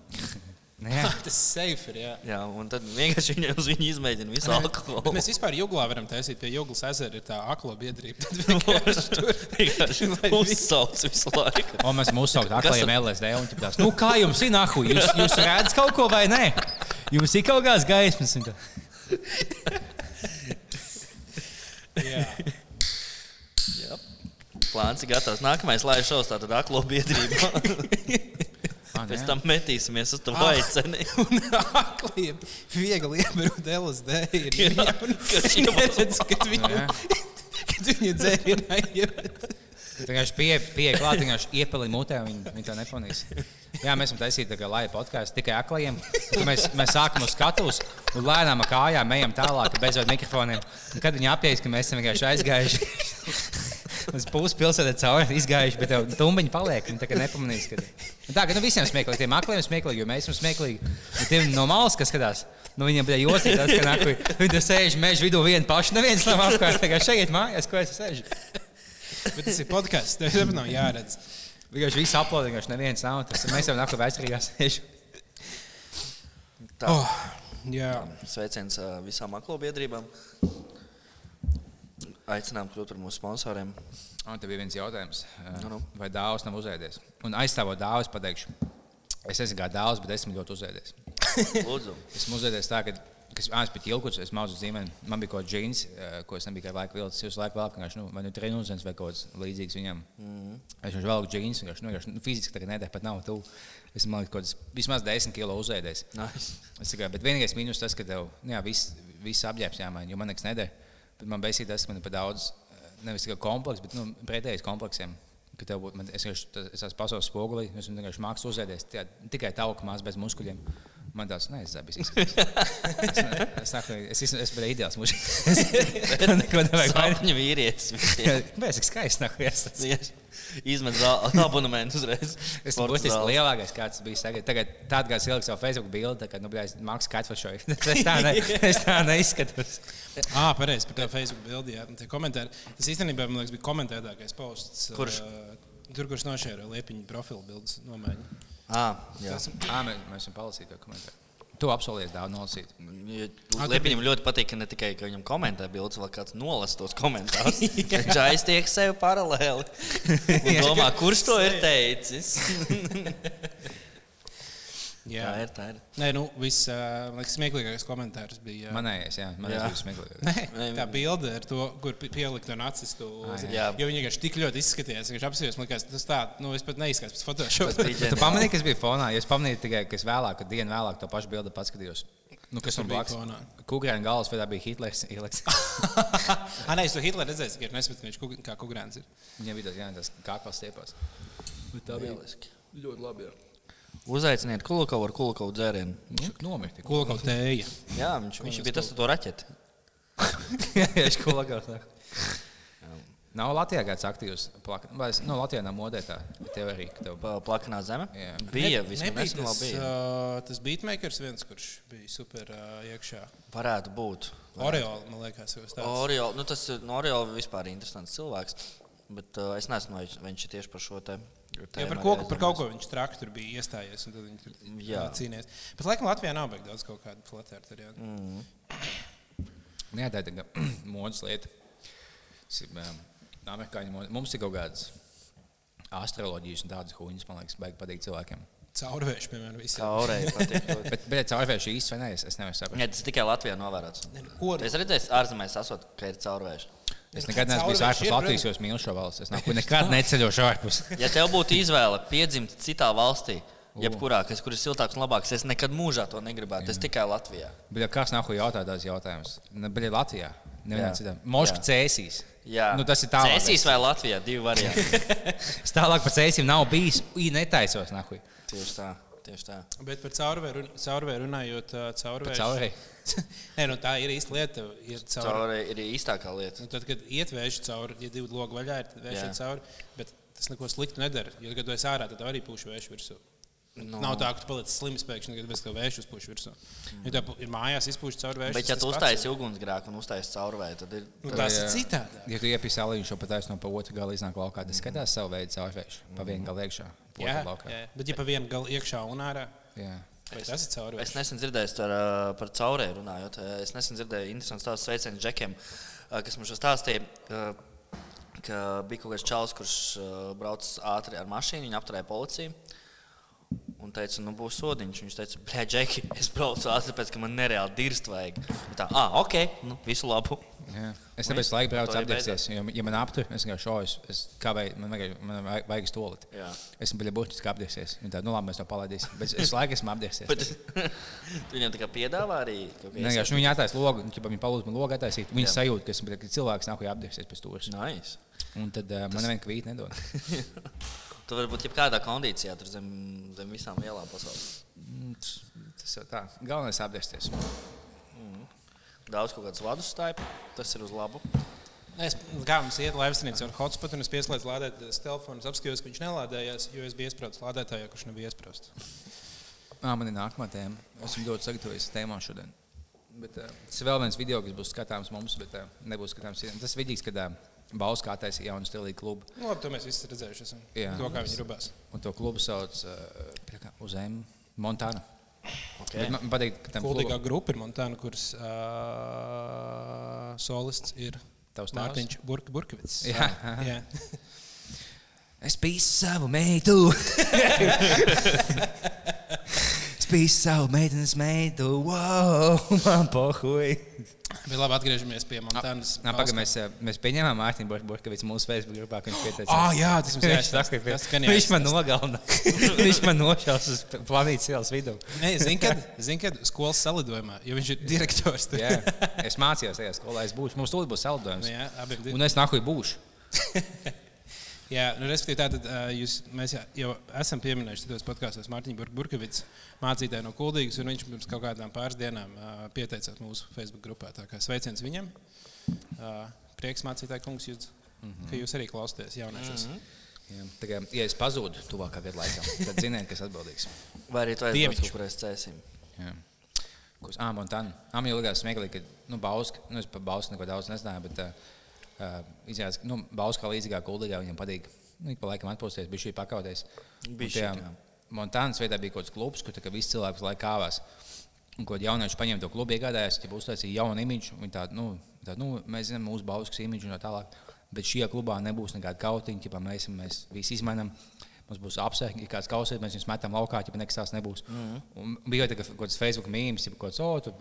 C: Nē.
A: Ah, Tas safe ir. Jā.
B: Jā, un tad vienkārši viņam uz viņu izmēģina visu
A: Bet
B: alkoholu.
A: mēs vispār jūglā varam taisīt pie jūglas ezera, ir tā aklo biedrība. Tad vienkārši tur
B: Vienkārši
A: Lai visi-
B: Uzsauc visu laiku.
C: O, mēs mūsu saucam,
B: Kas
C: atklājam LSD. Un, ķiptās, nu, kā jums ir nahu? Jūs, jūs redzat kaut ko vai nē? Jums ir kaut kādas gaismas. un tā.
A: Jā.
B: Jā. Plāns ir gatavs. Nākamais laiva šovs tātad aklo biedrība.
C: Ā,
B: Pēc
C: nē.
B: tam metīsimies uz to
A: Ah.
B: vaiceni.
A: Un akliem viegli iebrūt LSD. ir
B: Jā,
A: viņiem.
B: ka šie
A: Viņi neredz, Kad viņi,
C: Jā.
A: kad viņi dzērienā iebrūt.
C: Vienkārši pie, pie klāt, vienkārši iepeli mutē, un viņi, viņi to nepanīs. Jā, mēs esam taisījuši tādu laivu podkāstu tikai aklajiem. Tad Mēs, mēs sākam uz skatuves, un lēnām ar kājām ejam tālāk, bez vada mikrofoniem. Un kad viņi apjēdz, ka mēs esam vienkārši aizgājuši. Uz puses pilsētā cauri izgājuši, bet tev tumbiņi paliek. Viņi tā kā nepamanīs, ka. Un tā, ka nu visiem smieklīgi, tiem akliem smieklīgi, jo mēs esam smieklīgi. Un tiem no malas, kas skatās, nu viņiem bija jocīgi, tas, ka nakuji. Viņi tur sēž meža vidū vieni paši, neviens nav apkārt. Tagad šeit mājās, ko es sēžu.
A: Bet tas ir podkāsts, tev jau nav jāredz.
C: Vienkārši viss aplaudē, vienkārši neviens nav. Tas, mēs jau nākam vēsturīgā sēžam.
B: Tā.
A: Oh, jā.
B: Sveiciens ā, visām aklo biedrībām. Aicinām kļūt par mūsu sponsoriem.
C: Un te bija viens jautājums,
B: Nu, nu.
C: vai dāvāts nav uzēdies. Un aizstāvot dāvāts, pateikšu, es esmu kā dāvāts, bet esmu ļoti uzēdies.
B: Lūdzu.
C: Esmu uzēdies tā, ka kas, ā, es biju ilgus, es mazu zīmēju, man bija kaut kāds džins, eh, ko es nebiju kā laika vilcis. Es laiku vēl kādā, nu, vai nu treniņš vai kaut kas līdzīgs viņam.
B: Mhm.
C: Mm. Es jau velku džins, vienkārši, nu, vienkārši nu, fiziski tagad nedēļ pat nav tuvu. Es domāju, ka vismaz 10 kilo uzēdies.
B: Nice.
C: Es tikai, bet vienīgais mīnus tas, ka tev nu jā, viss, viss apģērbs jāmaina, jo man nekas nedara. Bet man beisīgi tas, ka man ir par daudz, eh, nevis tikai komplekss, bet nu, pretējais kompleksiem. ka tev būtu- Man, es vienkārši esmu pasaules spogulī, es esmu vienkārši mākslinieks uzēdies tie- tikai tauku mās bez muskuļiem. Man tāds neizdzēbis. Es, ne- es, nāku- es, es, es biju ideāls mūžs. Neko nevajag mainīt.
B: Sapņu vīrietis. visiem.
C: Mēs esam skaisti. Nāku,
B: Yes. Izmet zāli abonementu uzreiz.
C: Es
B: Sporta
C: būtu tas
B: zāli.
C: lielākais, kāds bija. Tagad, tagad tāds, kāds ieliks savu Facebook bildi, tad, nu, blēs, mākslinieks katfošoja. Es tā, ne, es tā neizskatos.
A: Ah, pareizi par to Facebook bildi. Jā, un tie komentāri. Tas īstenībā man liekas, bija komentētākais posts.
B: Kurš?
A: ā, Tur, kurš nošēra liepiņu profilu bildes nomaiņu.
B: Ā, jā.
A: Tas-
C: Ā, mēs, mēs esam palasījuši to komentāru. Tu apsolies daudz nolasīt.
A: Ā,
B: Jo
A: tu
B: Lepiņam ļoti patīk, ka ne tikai ka viņam komentē bildes, vēl kāds nolas tos komentārus. Viņš aiztiek sev paralēli. Un domā, kurš to ir teicis?
A: Jā,
B: Jā, ir tā ir.
A: Nē, nu, viss ā, man liekas, smieklīgākais komentārs bija. ā,
C: Manējais, jā,
B: Jā.
C: manējais bija smieklīgi.
A: Nē, tā bilde ar to, kur pi- pielikt un acis to
B: jā.
A: uzzīmēt. Jo viņi vienkārši tik ļoti izskatījās, ka viņš apsvērsies. Man liekas, tas tā, nu, es pat neizskatījos pēc
B: Tas
A: fotošopa.
B: bija-
C: Tu pamanīji, kas bija fonā. Ja Es pamanīju tikai, ka es vēlāk, kad dienu vēlāk to pašu bildi paskatījos. Nu, kas
A: tur
C: man
A: bija
C: blakus?
A: fonā?
C: Kukrēna galvas vai tā bija Hitlers ieliks.
A: Ah, nē, es to Hitleru redzēju, ka ir nesmit, ka viņš kug- kā kukurāns ir.
C: Viņam bija tas, jā, tas kāpās stiepās. Bet tā bija.
B: Ļoti labi. Uzaiciniet Kulakovu ar Kulakovu dzērienu.
C: Viņš nomirti.
A: Kulakau tēja.
B: Jā, viņš, viņš bija tas ar to raķeti.
C: Viņš kolagās. Nav Latvijā kāds aktīvs plakāts. Nu, Latvijā nav modē tā teorija, ka tev
B: Pa- Plakanā zeme.
C: Jā.
B: Bija
A: Ne-
B: vismaz
A: nebija
B: nesen vēl
A: tas,
B: bija.
A: uh, tas beatmakers viens, kurš bija super uh, iekšā.
B: Varētu būt.
A: Oreola, man liekas, jau tāds.
B: Oriola, nu tas ir no Oriola vispār interesants cilvēks. Bet uh, es nezinu, vai viņš- vai viņš ir tieši par šo te.
A: Jā, par,
B: tēmu
A: koku,
B: arī
A: par kaut ko viņš traki tur bija iestājies, un tad viņi tur
B: Jā.
A: jā. cīnījās. Bet, laikam, Latvijā nav beig daudz kaut kādu flatēru. Mm.
C: Nē, Nu tā ir tāda modes lieta. Tas ir, um, Amerikāņu modes. Mums ir kaut kādas astroloģijas un tādas huņas, man liekas, baigi patīk cilvēkiem.
A: Caurvējuši, piemēram,
B: Kā
A: visiem.
B: orēji patīk. ļoti.
C: Bet, bet caurvēršu īsti vai nē, es, es nevaru saprast.
B: Jā, tas tikai Latvijā novērots.
A: Nē, nu, Ko
B: Es redzēju, ārzemēs esot, ka ir caurvējuši.
C: Es nekad neesmu bijis ārpus Latvijas, jo es mīlu šo valsti. Es nekur nekad neceļošu ārpus.
B: Ja tev būtu izvēle piedzimt citā valstī, jebkurā, kas, kur ir siltāks un labāks, es nekad mūžā to negribētu. Es tikai Latvijā.
C: Bet kāds nav ko jautāt tās jautājumus? Bija Latvijā. Nevienā
B: Jā.
C: citā. Moška cēsīs.
B: Jā,
C: Nu, tas ir tālāk.
B: Cēsīs vai Latvijā? Divi varianti.
C: Es tālāk par cēsīm nav bijis. Ui, netaisos, nahuj.
B: tieši tā, tieši tā.
A: Bet par caurvēju run- caurvēju runājot, ā, caurvējš-
C: Caurēji.
A: Nē, nu, tā ir īsta lieta. Ir caurvēju.
B: Caur ir īstākā lieta.
A: Nu, tad, kad iet vēju cauri, ja divi logi vaļā ir, tad vēju
B: Jā.
A: cauri. Bet tas neko sliktu nedara. Jo, kad tu esi ārā, tad tev arī pūš vēju virsū. No.
B: Nu.
A: Nav tā, ka tu paliec slims pēkšņi, kad bez tev vēju uzpūš virsū. Mm. Ja tev ir mājās izpūš cauri vēju.
B: Bet, ja tu uztaisīsi ugunsgrēku un uztaisīsi caurvēju, tad ir.
A: Nu,
B: tad-
A: tas ir citādi.
C: Ja tu iepīsi aliņu šo pataisnu pa otru galu iznāk laukā, tad skatās savu veidu caurvējušu. Pa vienu galu iekšā. pa
A: Jā,
C: otru laukā.
A: jā, bet ja pa vienu galu iekšā un ārā,
C: Jā.
A: vai tas ir caurvēju?
B: Es nesen dzirdēju par, ā, par caurēju runājot. ā, Es nesen dzirdēju interesantu stāstu sveicienu Džekiem, ā, kas man šo stāstīja. ā, Ka bija kaut kāds čels, kurš ā, brauca ātri ar mašīnu, viņa apturēja policiju. Un teica, nu būs sodiņš. Viņš teica, blē, Džeki, es braucu ātri, tāpēc ka man nereāli dirst vajag. Un Tā, ah, ok, nu, visu labu.
C: Jā. Es tāpēc laiku braucu
B: to arī
C: apgāzties. Ja, ja man aptur, es vienkārši šaujos, es kavēju, man, vienkārši- man vajag, vajag stulīt.
B: Jā.
C: Esmu bijis burtiski apgāzties. Viņa tāda, nu labi, mēs to palaidīsim. Bet es laiku esmu apgāzties.
B: Bet viņam tā kā piedāvā arī kaut
C: Nē, vienkārši nu, viņi attaisno logu, nu, ja viņi palūdz man logu attaisīt. Viņi
B: Jā.
C: sajūt, ka esmu bļa, ka cilvēks nav apgāzties pēc stūres.
B: Nice.
C: Un tad uh, man neviena kvīta nedod.
B: Tu vari būt jebkādā kondīcijā, tur zem, zem visām lielām pasaulēm.
C: Mm, tas- Tas jau tā. Galvenais ir apgāzties.
B: Daudz kaut kādas vadus stāja, tas ir uz labu.
A: Es, kā mums iet laivstrīnīca ar hotspotu, un es pieslēdzu lādētājas telefonu, apskatījos, ka viņš nelādējās, jo es biju iesprūdis lādētājā, kurš nebija iesprūdis.
C: Ā, man ir nākamā tēma. Esmu ļoti sagatavojies tēmā šodien. Bet, uh, tas ir vēl viens video, kas būs skatāms mums, bet uh, nebūs skatāms citiem. Tas ir vidīgs, kad uh, Bauskā taisīja jaunu stilīgu klubu.
A: Nu, labi, to mēs visi redzējuši. Esam,
C: Jā.
A: to, kā viņi rubās.
C: Un to klubu sauc uh, pie kā- uz M. Montāna. Okay.
B: nu,
C: Man patīk, ka tam
A: Kultīgā
C: klubam
A: grupa ir Montāna, kuras uh, solists ir
C: Tavs tēvs?
A: Mārtiņš Burk Burkevits.
C: Jā.
A: Jā.
C: Es pīsu savu meitu. es pīsu savu meitenes meitu. Wow, man pohuj.
A: Bet labi, atgriežamies pie Montānas.
C: Pagaidām, mēs, eh, mēs pieņēmām Mārtiņu Borg- Borkevicu mūsu Facebook grupā, ka viņš pieteicās.
A: Ah, jā, tas mums
C: Viņš,
A: jāizsaka.
C: saka, ka-
A: Tas gan
C: viņš man nogalina. viņš man nošaus uz planētas ielas vidū.
A: Nē, zini, kad, zin, kad skolas salidojumā, jo viņš ir direktors. tad-
C: Jā, es mācījos tajā skolā. Es būšu. Mums tur būs
A: Nu,
C: saldējums.
A: Jā, abi ir.
C: Un es nāku būšu.
A: Jā, nu, respektīvi, tātad, ā, jūs, mēs jā- jau esam pieminējuši tos podkāstos Mārtiņu Burk- Burkevits, mācītāju no Kuldīgas, un viņš pirms kaut kādām pāris dienām ā, pieteicās mūsu Facebook grupā. Tā kā sveiciens viņam. Ā, Prieks, mācītāji, kungs, jūs,
C: Mhm.
A: ka jūs arī klausāties jauniešus.
C: Jā. Tā kā, ja es pazudu tuvākā gada laikā, tad ziniet, kas atbildīgs.
B: Vai arī to
A: Dieviņš.
B: jāsaka, kur es cēsim?
C: Jā. Kurš āmā un tā. Āmā jau likās smieklīgi, ka nu, Bauska, nu, es par Bausku neko daudz nezināju, bet uh, izrādās, ka nu, Bauska līdzīgā gudrīgā viņam patīk. Nu, Viņš pa laikam atpūsties, bija šī pakauties. Un
B: Bišķi,
C: tajā
B: jā.
C: Montānas vietā bija kaut kāds klubs, kur tā kā visi cilvēki visu laiku kāvās. Un ko jaunieši paņēma to klubu, iegādājās, ja uztaisīja jaunu imidžu. Viņi tādu, nu, tādu, nu, mēs zinām, mūsu Bauskas imidžu un tā tālāk. Bet šajā klubā nebūs nekāda kautiņa, ja mēs, mēs visi izmainām. Mums būs apsvērti, ja kāds klausās, mēs viņus metam laukā, ja nekas tāds nebūs. Mm -hmm. Un bija tā, ka kaut kāds Facebook mīmīms, ja kaut kāds oh, tu,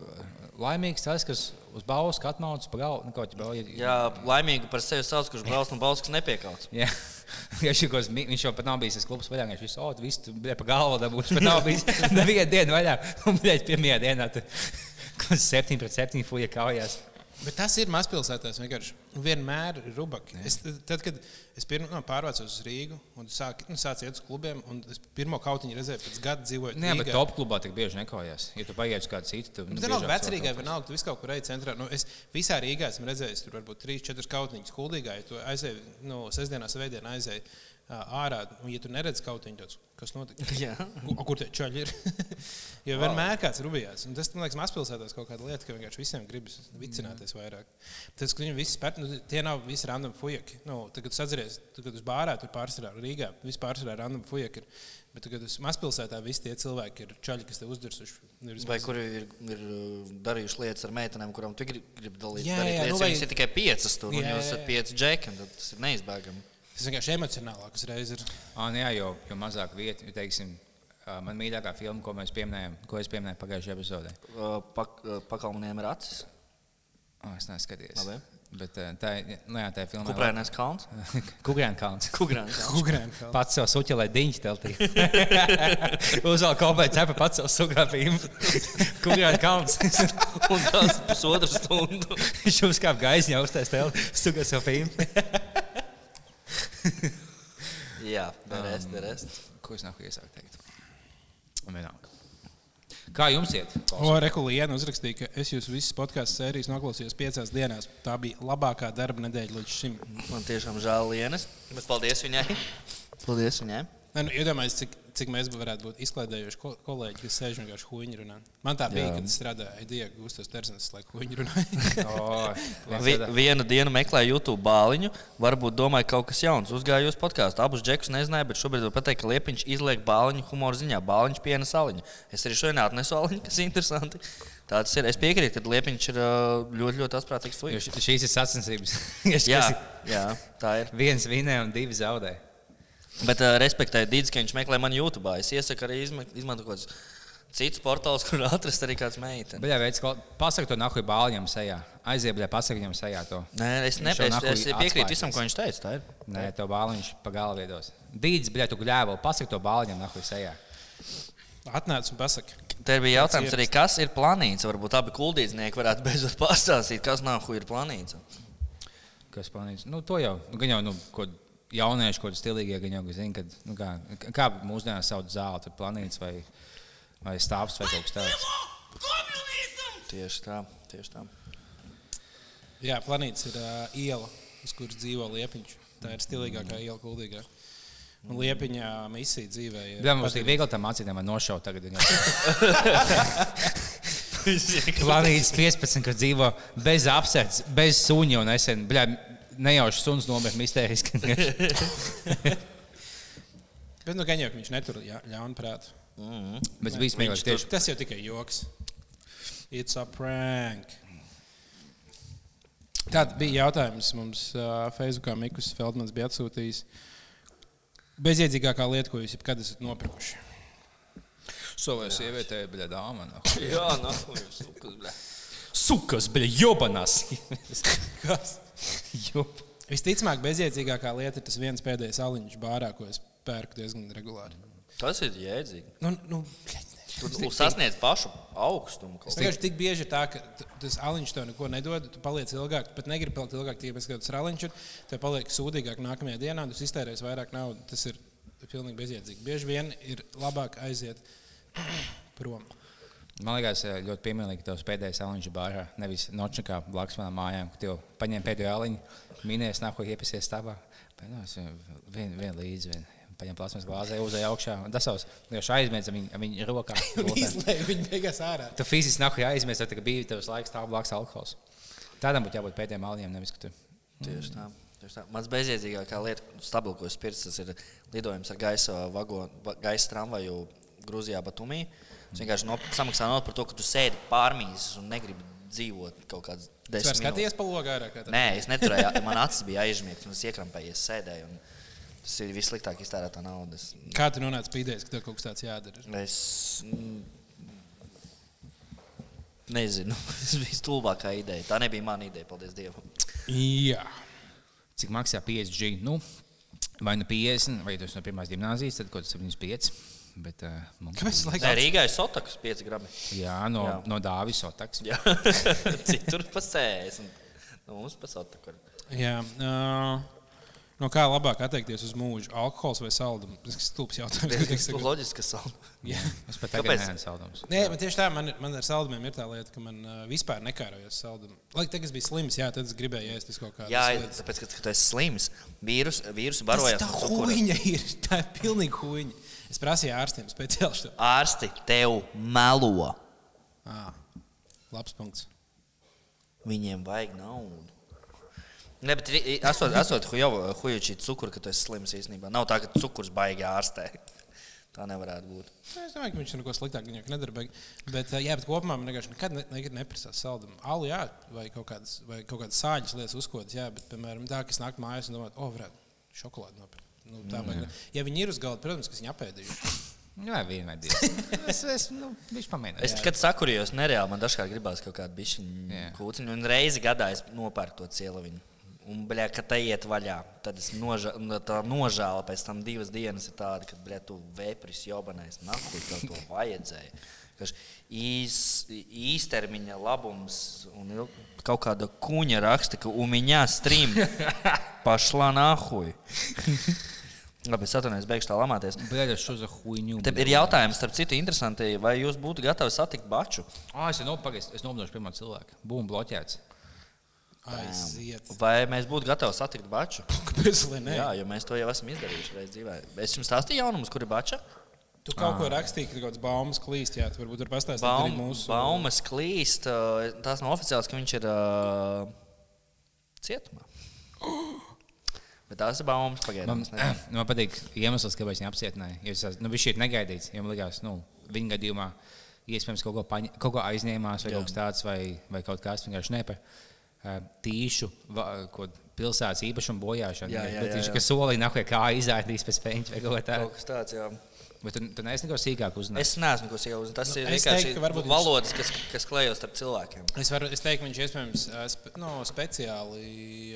C: laimīgs tas, kas uz Bausku atnāca pa galvu. Nu, kaut kā jau bija.
B: Jā, laimīgi par sevi sauc, kurš brauc no balss, kas nepiekauts.
C: Jā, ja šī kaut kas, viņš jau pat nav bijis tas klubs vaļā. Viņš visu laiku visu tur bija pa galvu, dabūjis pat nav bijis nevienu dienu vaļā. Un, blēģ, pirmajā dienā tur kaut kas 7 pret 7 fuja kaujās.
A: Bet tas ir mazpilsētās vienkārši. Nu, Vienmēr ir rubaki. Es, tad, kad es pirmo no, pārvācos uz Rīgu un sāku nu, sāku iet uz klubiem, un es pirmo kautiņu redzēju pēc gada dzīvoju.
C: Nē, Nu bet
A: Rīgā.
C: top klubā tik bieži nekojās. Ja tu nu paiet uz kādu citu, tad
A: Bet vienalga, vecrīgā, vienalga, tu visu kaut kur eji centrā. Nu, es visā Rīgā esmu redzējis, tur varbūt 3-4 kautiņas kuldīgā. Ja tu aizēji, nu, sestdienās vai dienā aizēji ā, ārā, un ja tu neredz kautiņu, tad kas notika?
B: Jā.
A: Ku- Kur tie čaļi ir? jo vienmēr kāds rubjās. Un tas, man liekas, mazpilsētās kaut kāda lieta, ka vienkārši visiem gribas vicināties vairāk. Tas, ka viņi visi spēr, nu, tie nav visi random fujaki. Nu, tad, kad tu atceries, tad, kad uz bārā tur pārsvarā Rīgā, vispār pārsvarā random fujaki ir. Bet, tad, kad uz mazpilsētā visi tie cilvēki ir čaļi, kas te uzdursuši. ir vismaz-
B: Vai kuri ir, ir uh, darījuši lietas ar meitenēm, kurām tu gribi grib dalīt?
A: Jā,
B: Jā,
A: jā,
B: jā,
A: nu
B: lietas, nu,
A: vai-
B: vai... Viņas ir tikai piecas, tur
A: Jā,
B: jau
A: jā,
B: esat
A: jā.
B: pieci džeki, un tad tas ir neizbēgami.
A: Tas vienkārši emocionālākas reizes ir.
C: Ah, jā, jo, jo mazāk vietas, jo teiksim, ā, man mīļākā filma, ko mēs pieminējām, ko es pieminēju pagājušajā epizodē.
B: Uh, Pak, uh, pakalniem ir acis.
C: Oh, es neesmu skatījies.
B: Labi.
C: Bet eh, tā ir tā līnija.
B: Kukrānais kalns.
C: Kukrāna kalns.
B: Kukrānais kalns.
A: Kukurēna.
C: Pats sev suķi, lai diņķi teltī. Uzvēl kaut kādā cepā pats sev sugāpīm. Kukrāna kalns.
B: Un tas pusotru stundu.
C: Viņš uzkāpa gaisā, jau uztaisīja telti. Sugā sev pīm.
B: Jā, derēs, derēs.
C: Ko es nāku iesākt teikt? Man vienalga. Kā jums iet?
A: O, Rekulīna uzrakstīja, ka es jūs visas podkāstu sērijas noklausījos piecās dienās. Tā bija labākā darba nedēļa līdz šim.
B: Man tiešām žēl Lienas. Bet paldies viņai. Paldies viņai.
A: Nē, nu, Iedomājieties, cik, cik mēs varētu būt izklaidējuši ko- kolēģi, kas sēž un vienkārši huīņi runā. Man tā bija,
B: Jā.
A: Jā. kad es strādāju Diegu Gustas Terzens, lai huīņi runāja.
C: O,
B: Vi, vienu dienu meklēju YouTube bāliņu, varbūt domāju, kaut kas jauns. Uzgāju uz podkāstu. Abus džekus nezināju, bet šobrīd var pateikt, ka liepiņš izliek bāliņu humora ziņā. Bāliņš piena saliņu. Es arī šodien atnesu aliņu, kas ir interesanti. Tā tas ir. Es piekrītu, ka liepiņš ir ā, ļoti, ļoti astprātīgs
C: Jo
B: fujas.
C: š- Šīs ir sacensības. Kas
B: Jā,
C: ir-
B: jā, tā ir.
C: Viens vinēja un divi zaudēja.
B: Bet uh, respektēju Dīdzi, ka viņš meklē mani YouTube. Es iesaku arī izme- izmantot kaut kādus citus portālus, kur atrast arī kādas meitenes.
C: Bļā, veids, ko pasaka to nahuj bāliņam sejā. Aizjebļā, pasaka viņam sejā to.
B: Nē, es, ne,
C: Viņš jau
B: es,
C: nahuj
B: es piekrītu
C: atslēgas.
B: visam, ko viņš teica. Tā ir.
C: Nē, to bāliņš pa galvu iedos. Dīdz, bļā, tu gļēvo, pasaka to bāliņam nahuj sejā.
A: Atnāc un pasaki.
B: Te bija jautājums arī, kas ir planīts. Varbūt abi kuldīdznieki varētu beidzot pastāstīt, kas nahu ir planīts.
C: Kas planīts? Nu, to jau, nu, gan jau, nu, ko jaunieši, ko stilīgie, gan jau, zina, kad, nu, kā, kā mūsdienās sauc zāli, tad planīts vai, vai stāvs vai kaut kas tāds.
B: Tieši tā, tieši tā.
A: Jā, planīts ir uh, iela, uz kuras dzīvo liepiņš. Tā ir stilīgākā iela, kuldīgākā. Un liepiņā misija dzīvē ir.
C: Jā, mums tik viegli tam mācītājiem var nošaut tagad. viņam. Planītas 15, kas dzīvo bez apsardzes, bez suņa un nesen. Bļā, nejauši suns nomira mistēriski.
A: Bet nu, gan jau ka viņš netur ļa- ļaunprāt.
C: Bet bija smieklīgi. Tieši
A: Tas jau tikai joks. It's a prank. Tāda bija jautājums mums uh, Facebookā. Mikls Feldmans bija atsūtījis bezjēdzīgākā lieta, ko jūs jebkad esat nopirkuši.
C: solēja sievietē, bļā, dāma. No.
B: Jā, nahu ir sukas.
C: Sukas, bļā, jobanās.
A: Kas?
C: Job.
A: Visticamāk, bezjēdzīgākā lieta ir tas viens pēdējais aliņš bārā, ko es pērku diezgan regulāri.
B: Tas ir jēdzīgi.
A: Nu, nu,
B: Tur tu sasniedz pašu augstumu. kaut
A: Es
B: kā.
A: vienkārši tik bieži ir tā, ka t- tas aliņš tev neko nedod, tu paliec ilgāk, tu pat negribi palikt ilgāk, tāpēc, ka tas aliņš ir, tev paliek sūdīgāk nākamajā dienā, un tu iztērēsi vairāk naudas. Tas ir pilnīgi bezjēdzīgi. Bieži vien ir labāk aiziet prom.
C: Man liekas, eh, ļoti piemērīgi tavs pēdējais aliņš bārā. Nevis nočakā blakus manām mājām, kur tev paņēma pēdējo aliņu, minējies, nāko iepisies stāvā. Pēdējais nu, eh, vien, vien līdzi. Vien. Paņem plasmas glāzē, uzēja augšā. Tas savs, jau aizmiedz viņu, viņu rokā.
A: Izlēju viņu beigās ārā.
C: Tu fiziski nav jāizmirst, tad bija tavs laiks, tā blakus alkohols. Tādam būtu jābūt pēdējiem aliem, nevis ka tu.
B: Tieši tā. Tieši tā. Mans bezjēdzīgākā lieta, stabils, ko es pircu, tas ir lidojums ar gaisa vagonu, va- gaisa tramvaju Grūzijā, Batumī. Es vienkārši no, samaksāju naudu par to, ka tu sēdi pārmīzes un negribi dzīvot kaut
A: Es
B: kādas
A: varu
B: desmit minūtes.
A: skatīties pa logu ārā. kā tad.
B: Nē, es neturēju, man acis bija aizmiegts, un es iekrampējies, sēdēju. un Tas ir vissliktāk iztērēta nauda. Es,
A: Kā tu nonāci pie idejas, ka tev kaut kas tāds jādara?
B: es mm, nezinu, tas bija stulbākā ideja. Tā nebija mana ideja, paldies Dievam.
A: Jā.
C: Cik maksā 5G? Nu, vai nu 50, vai tas no pirmās gimnāzijas, tad kaut kas 75. Bet, uh, mums,
A: Kāpēc es
B: Nē,
A: laikam?
B: Rīgā ir sotakas 5 gramu.
C: jā, no,
B: Jā.
C: no Dāvis Otaks.
B: Jā, citur pasēs. un Nu, mums pasaka, kur.
A: Jā. ā, No kā labāk atteikties uz mūžu? Alkohols vai saldums? Tas ir stulbs jautājums.
B: Diezgan loģiski, ka sāla.
A: Jā.
C: Es pat tagad
B: Kāpēc?
C: neesmu saldums.
A: Nē, man tieši tā, man, ir- man ar saldumiem ir tā lieta, ka man uh, vispār nekārojas saldumu. Lai tagad es biju slims, jā, tad es gribēju ēst visu kaut kādu.
B: Jā, ir- tāpēc, ka tu esi slims. Vīrus, vīrusu barojas.
A: tā huīņa ir. Tā ir pilnīgi huīņa. Es prasīju ārstiem speciāli šo.
B: Ārsti tev melo.
A: Ah, labs punkts.
B: Viņiem vajag naudu. Nē, bet ri- i- esot, esot hujuči cukuru, ka tu esi slims īstenībā. Nav tā, ka cukurs baigi ārstē. Tā nevarētu būt.
A: Nē, Es domāju, ka viņš neko sliktāk viņam nedara. bet- Bet, uh, jā, bet kopumā man vienkārši nekad ne, nekad neprasās saldumu. Alu, jā, vai kaut kādas, vai kaut kādas sāļas lietas uzkodas, jā, bet, piemēram, tā, kas nāk mājās un domā, o, varētu šokolādi nopirkt. Nu, tā, mm. Ja viņi ir uz galda, protams, ka viņi apēdījuši.
C: Jā, vienmēr bija. Es, es, nu, viņš pamēģināja.
B: Es tikai sakurījos, nereāli man dažkārt gribās kaut kādu bišķiņu
C: Jā.
B: kūciņu, un reizi gadā es nopērku to cieliņu. Un, bļā, kad tā iet vaļā, tad es noža, un tā nožēla pēc tam divas dienas ir tāda, ka, bļā, tu vēpris jobanais, naktī tev to vajadzēja. Kaž Īs, īstermiņa labums un il, kaut kāda kuņa raksta, ka umiņā stream pašlā nahuj. Labi, es atvainojos, beigšu tā lamāties.
C: Bēļ, šo za huņu.
B: Te ir jautājums, starp citu, interesanti, vai jūs būtu gatavi satikt baču?
C: Ah, es nopagaidu, es nomdošu pirmo cilvēku. Būmu bloķēts.
A: Aiziet.
B: Vai mēs būtu gatavi satikt baču?
A: Kāpēc lai ne?
B: Jā, jo mēs to jau esam izdarījuši reizē dzīvē. Es jums stāstīju jaunumus, kur ir bača.
A: Tu kaut ko rakstīji, ka ir kaut kāds baumas klīst, jā, tu varbūt tur pastāstīji
B: Ah. Baum,
A: arī mūsu.
B: baumas klīst, uh, tās nav oficiāls, ka viņš ir uh, cietumā. Bet tās ir baumas pagaidām.
C: Man,
B: es nezinu.
C: man patīk iemesls, kāpēc viņi apcietināja. Jo es, nu, viņš šeit negaidīts. jo Man liekas, nu, viņa gadījumā iespējams kaut ko, paņ, kaut ko aizņēmās, vai
B: Jā.
C: kaut kas tāds, vai, vai kaut kas vienkārši ne par eh, tīšu va- ko pilsētas īpašumu bojāšanu.
B: Jā, jā,
C: Bet
B: jā,
C: viņš
B: jā.
C: kā solīja, nāk, kā aizaidīs pēc spēļņa vai kaut kā tāda.
B: Kaut kas tāds, jā.
C: Bet tu, tu neesi neko sīkāk uzzinājis.
B: Es neesmu ko sieviete. Tas
A: Nu,
B: ir
A: es
B: vienkārši
A: teiktu, ka varbūt viņš-
B: valodas, kas, kas klējas starp cilvēkiem.
A: Es, varu, es teiktu, ka viņš iespējams ā, spe, no, speciāli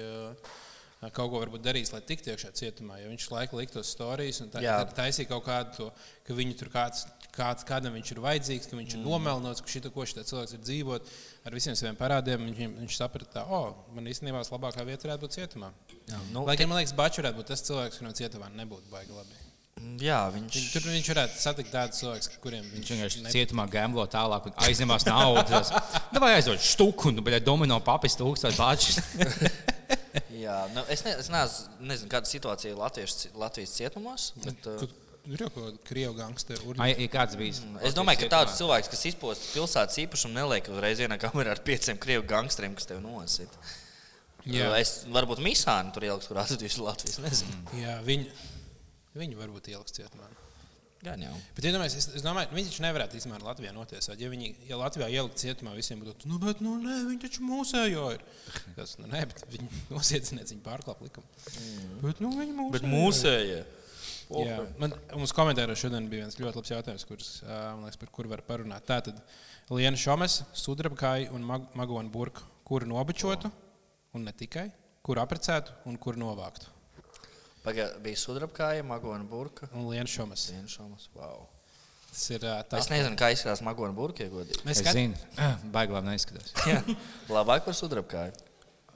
A: ā, kaut ko varbūt darīs, lai tiktu iekšā cietumā. Jo viņš laiku likt uz stāstījus un tā,
B: Jā.
A: tā- taisīja kaut kādu to, ka viņu tur kāds, kāds, kādam viņš ir vajadzīgs, ka
B: Mm.
A: viņš ir nomelnots, ka šito, ko šis cilvēks ir dzīvot ar visiem saviem parādiem. Viņš, viņš saprata, ka oh, man īstenībā labākā vieta varētu būt cietumā.
B: Nu,
A: Lai gan man liekas, Bačs varētu būt tas cilvēks, kurš no cietumā nebūtu baigi labi.
B: jā, viņš
A: Viņ, tur Mm, viņš varētu satikt tādus cilvēkus, kuriem
C: Viņš
A: viņš
C: vienkārši
A: ne-
C: cietumā gamblo tālāk un aizņemās naudu. Tā vai aizdod štuku, un bija domino papis, tūkstoš bāčus.
B: Jā, nu, es, ne, es nez, nezinu, kāda situācija ir Latviešu, Latvijas cietumos. Bet, uh,
A: Kur- Ir jau kaut kāda krievu gangsteru urna.
C: Ai, ir kāds bijis?
B: Mm, es domāju, ka tāds cilvēks, kas izpostas pilsētas īpašumu, neliek uzreiz vienā kamerā ar pieciem krievu gangsteriem, kas tev nosit. Jā.
A: Jā.
B: Es varbūt Misānu tur ieliku, kur atradīšu Latvijas. Nezinu.
A: Jā, viņu, viņu varbūt ieliks cietumā.
B: Gan jau.
A: Bet, ja domājies, es, es domāju, viņi taču nevarētu īstenībā ar Latviju notiesāt. Ja viņi ja Latvijā ielikt cietumā, visiem būtu, nu, bet, nu, nē, viņi taču mūsējo ir. Tas, nu, nē, bet viņi nosiecinās, viņi pārklāp likumu. Mm. Bet, nu, viņi mūsējo.
B: Bet Oh, mūsējie.
A: Jā, man, mums komentāros šodien bija viens ļoti labs jautājums, kurus, ā, man liekas, par kuru var parunāt. Tā tad Lienu Šomes, Sudrabkāju un Mag Magonu Burku, kuru nobačotu, un ne tikai, kuru apprecētu un kuru novāktu.
B: Pagaidām bija sudrabkāja, magona burka.
A: Un Nu, Lienu Šomes.
B: Vienšomas. Wow.
A: Tas ir ā, tā.
B: Es nezinu, kā izskatās magona burka, ja godīgi.
A: Mēs
C: Es
A: skatāmies,
C: zinu, baigi labi neizskatās.
B: Jā. Labāk par sudrabkāju.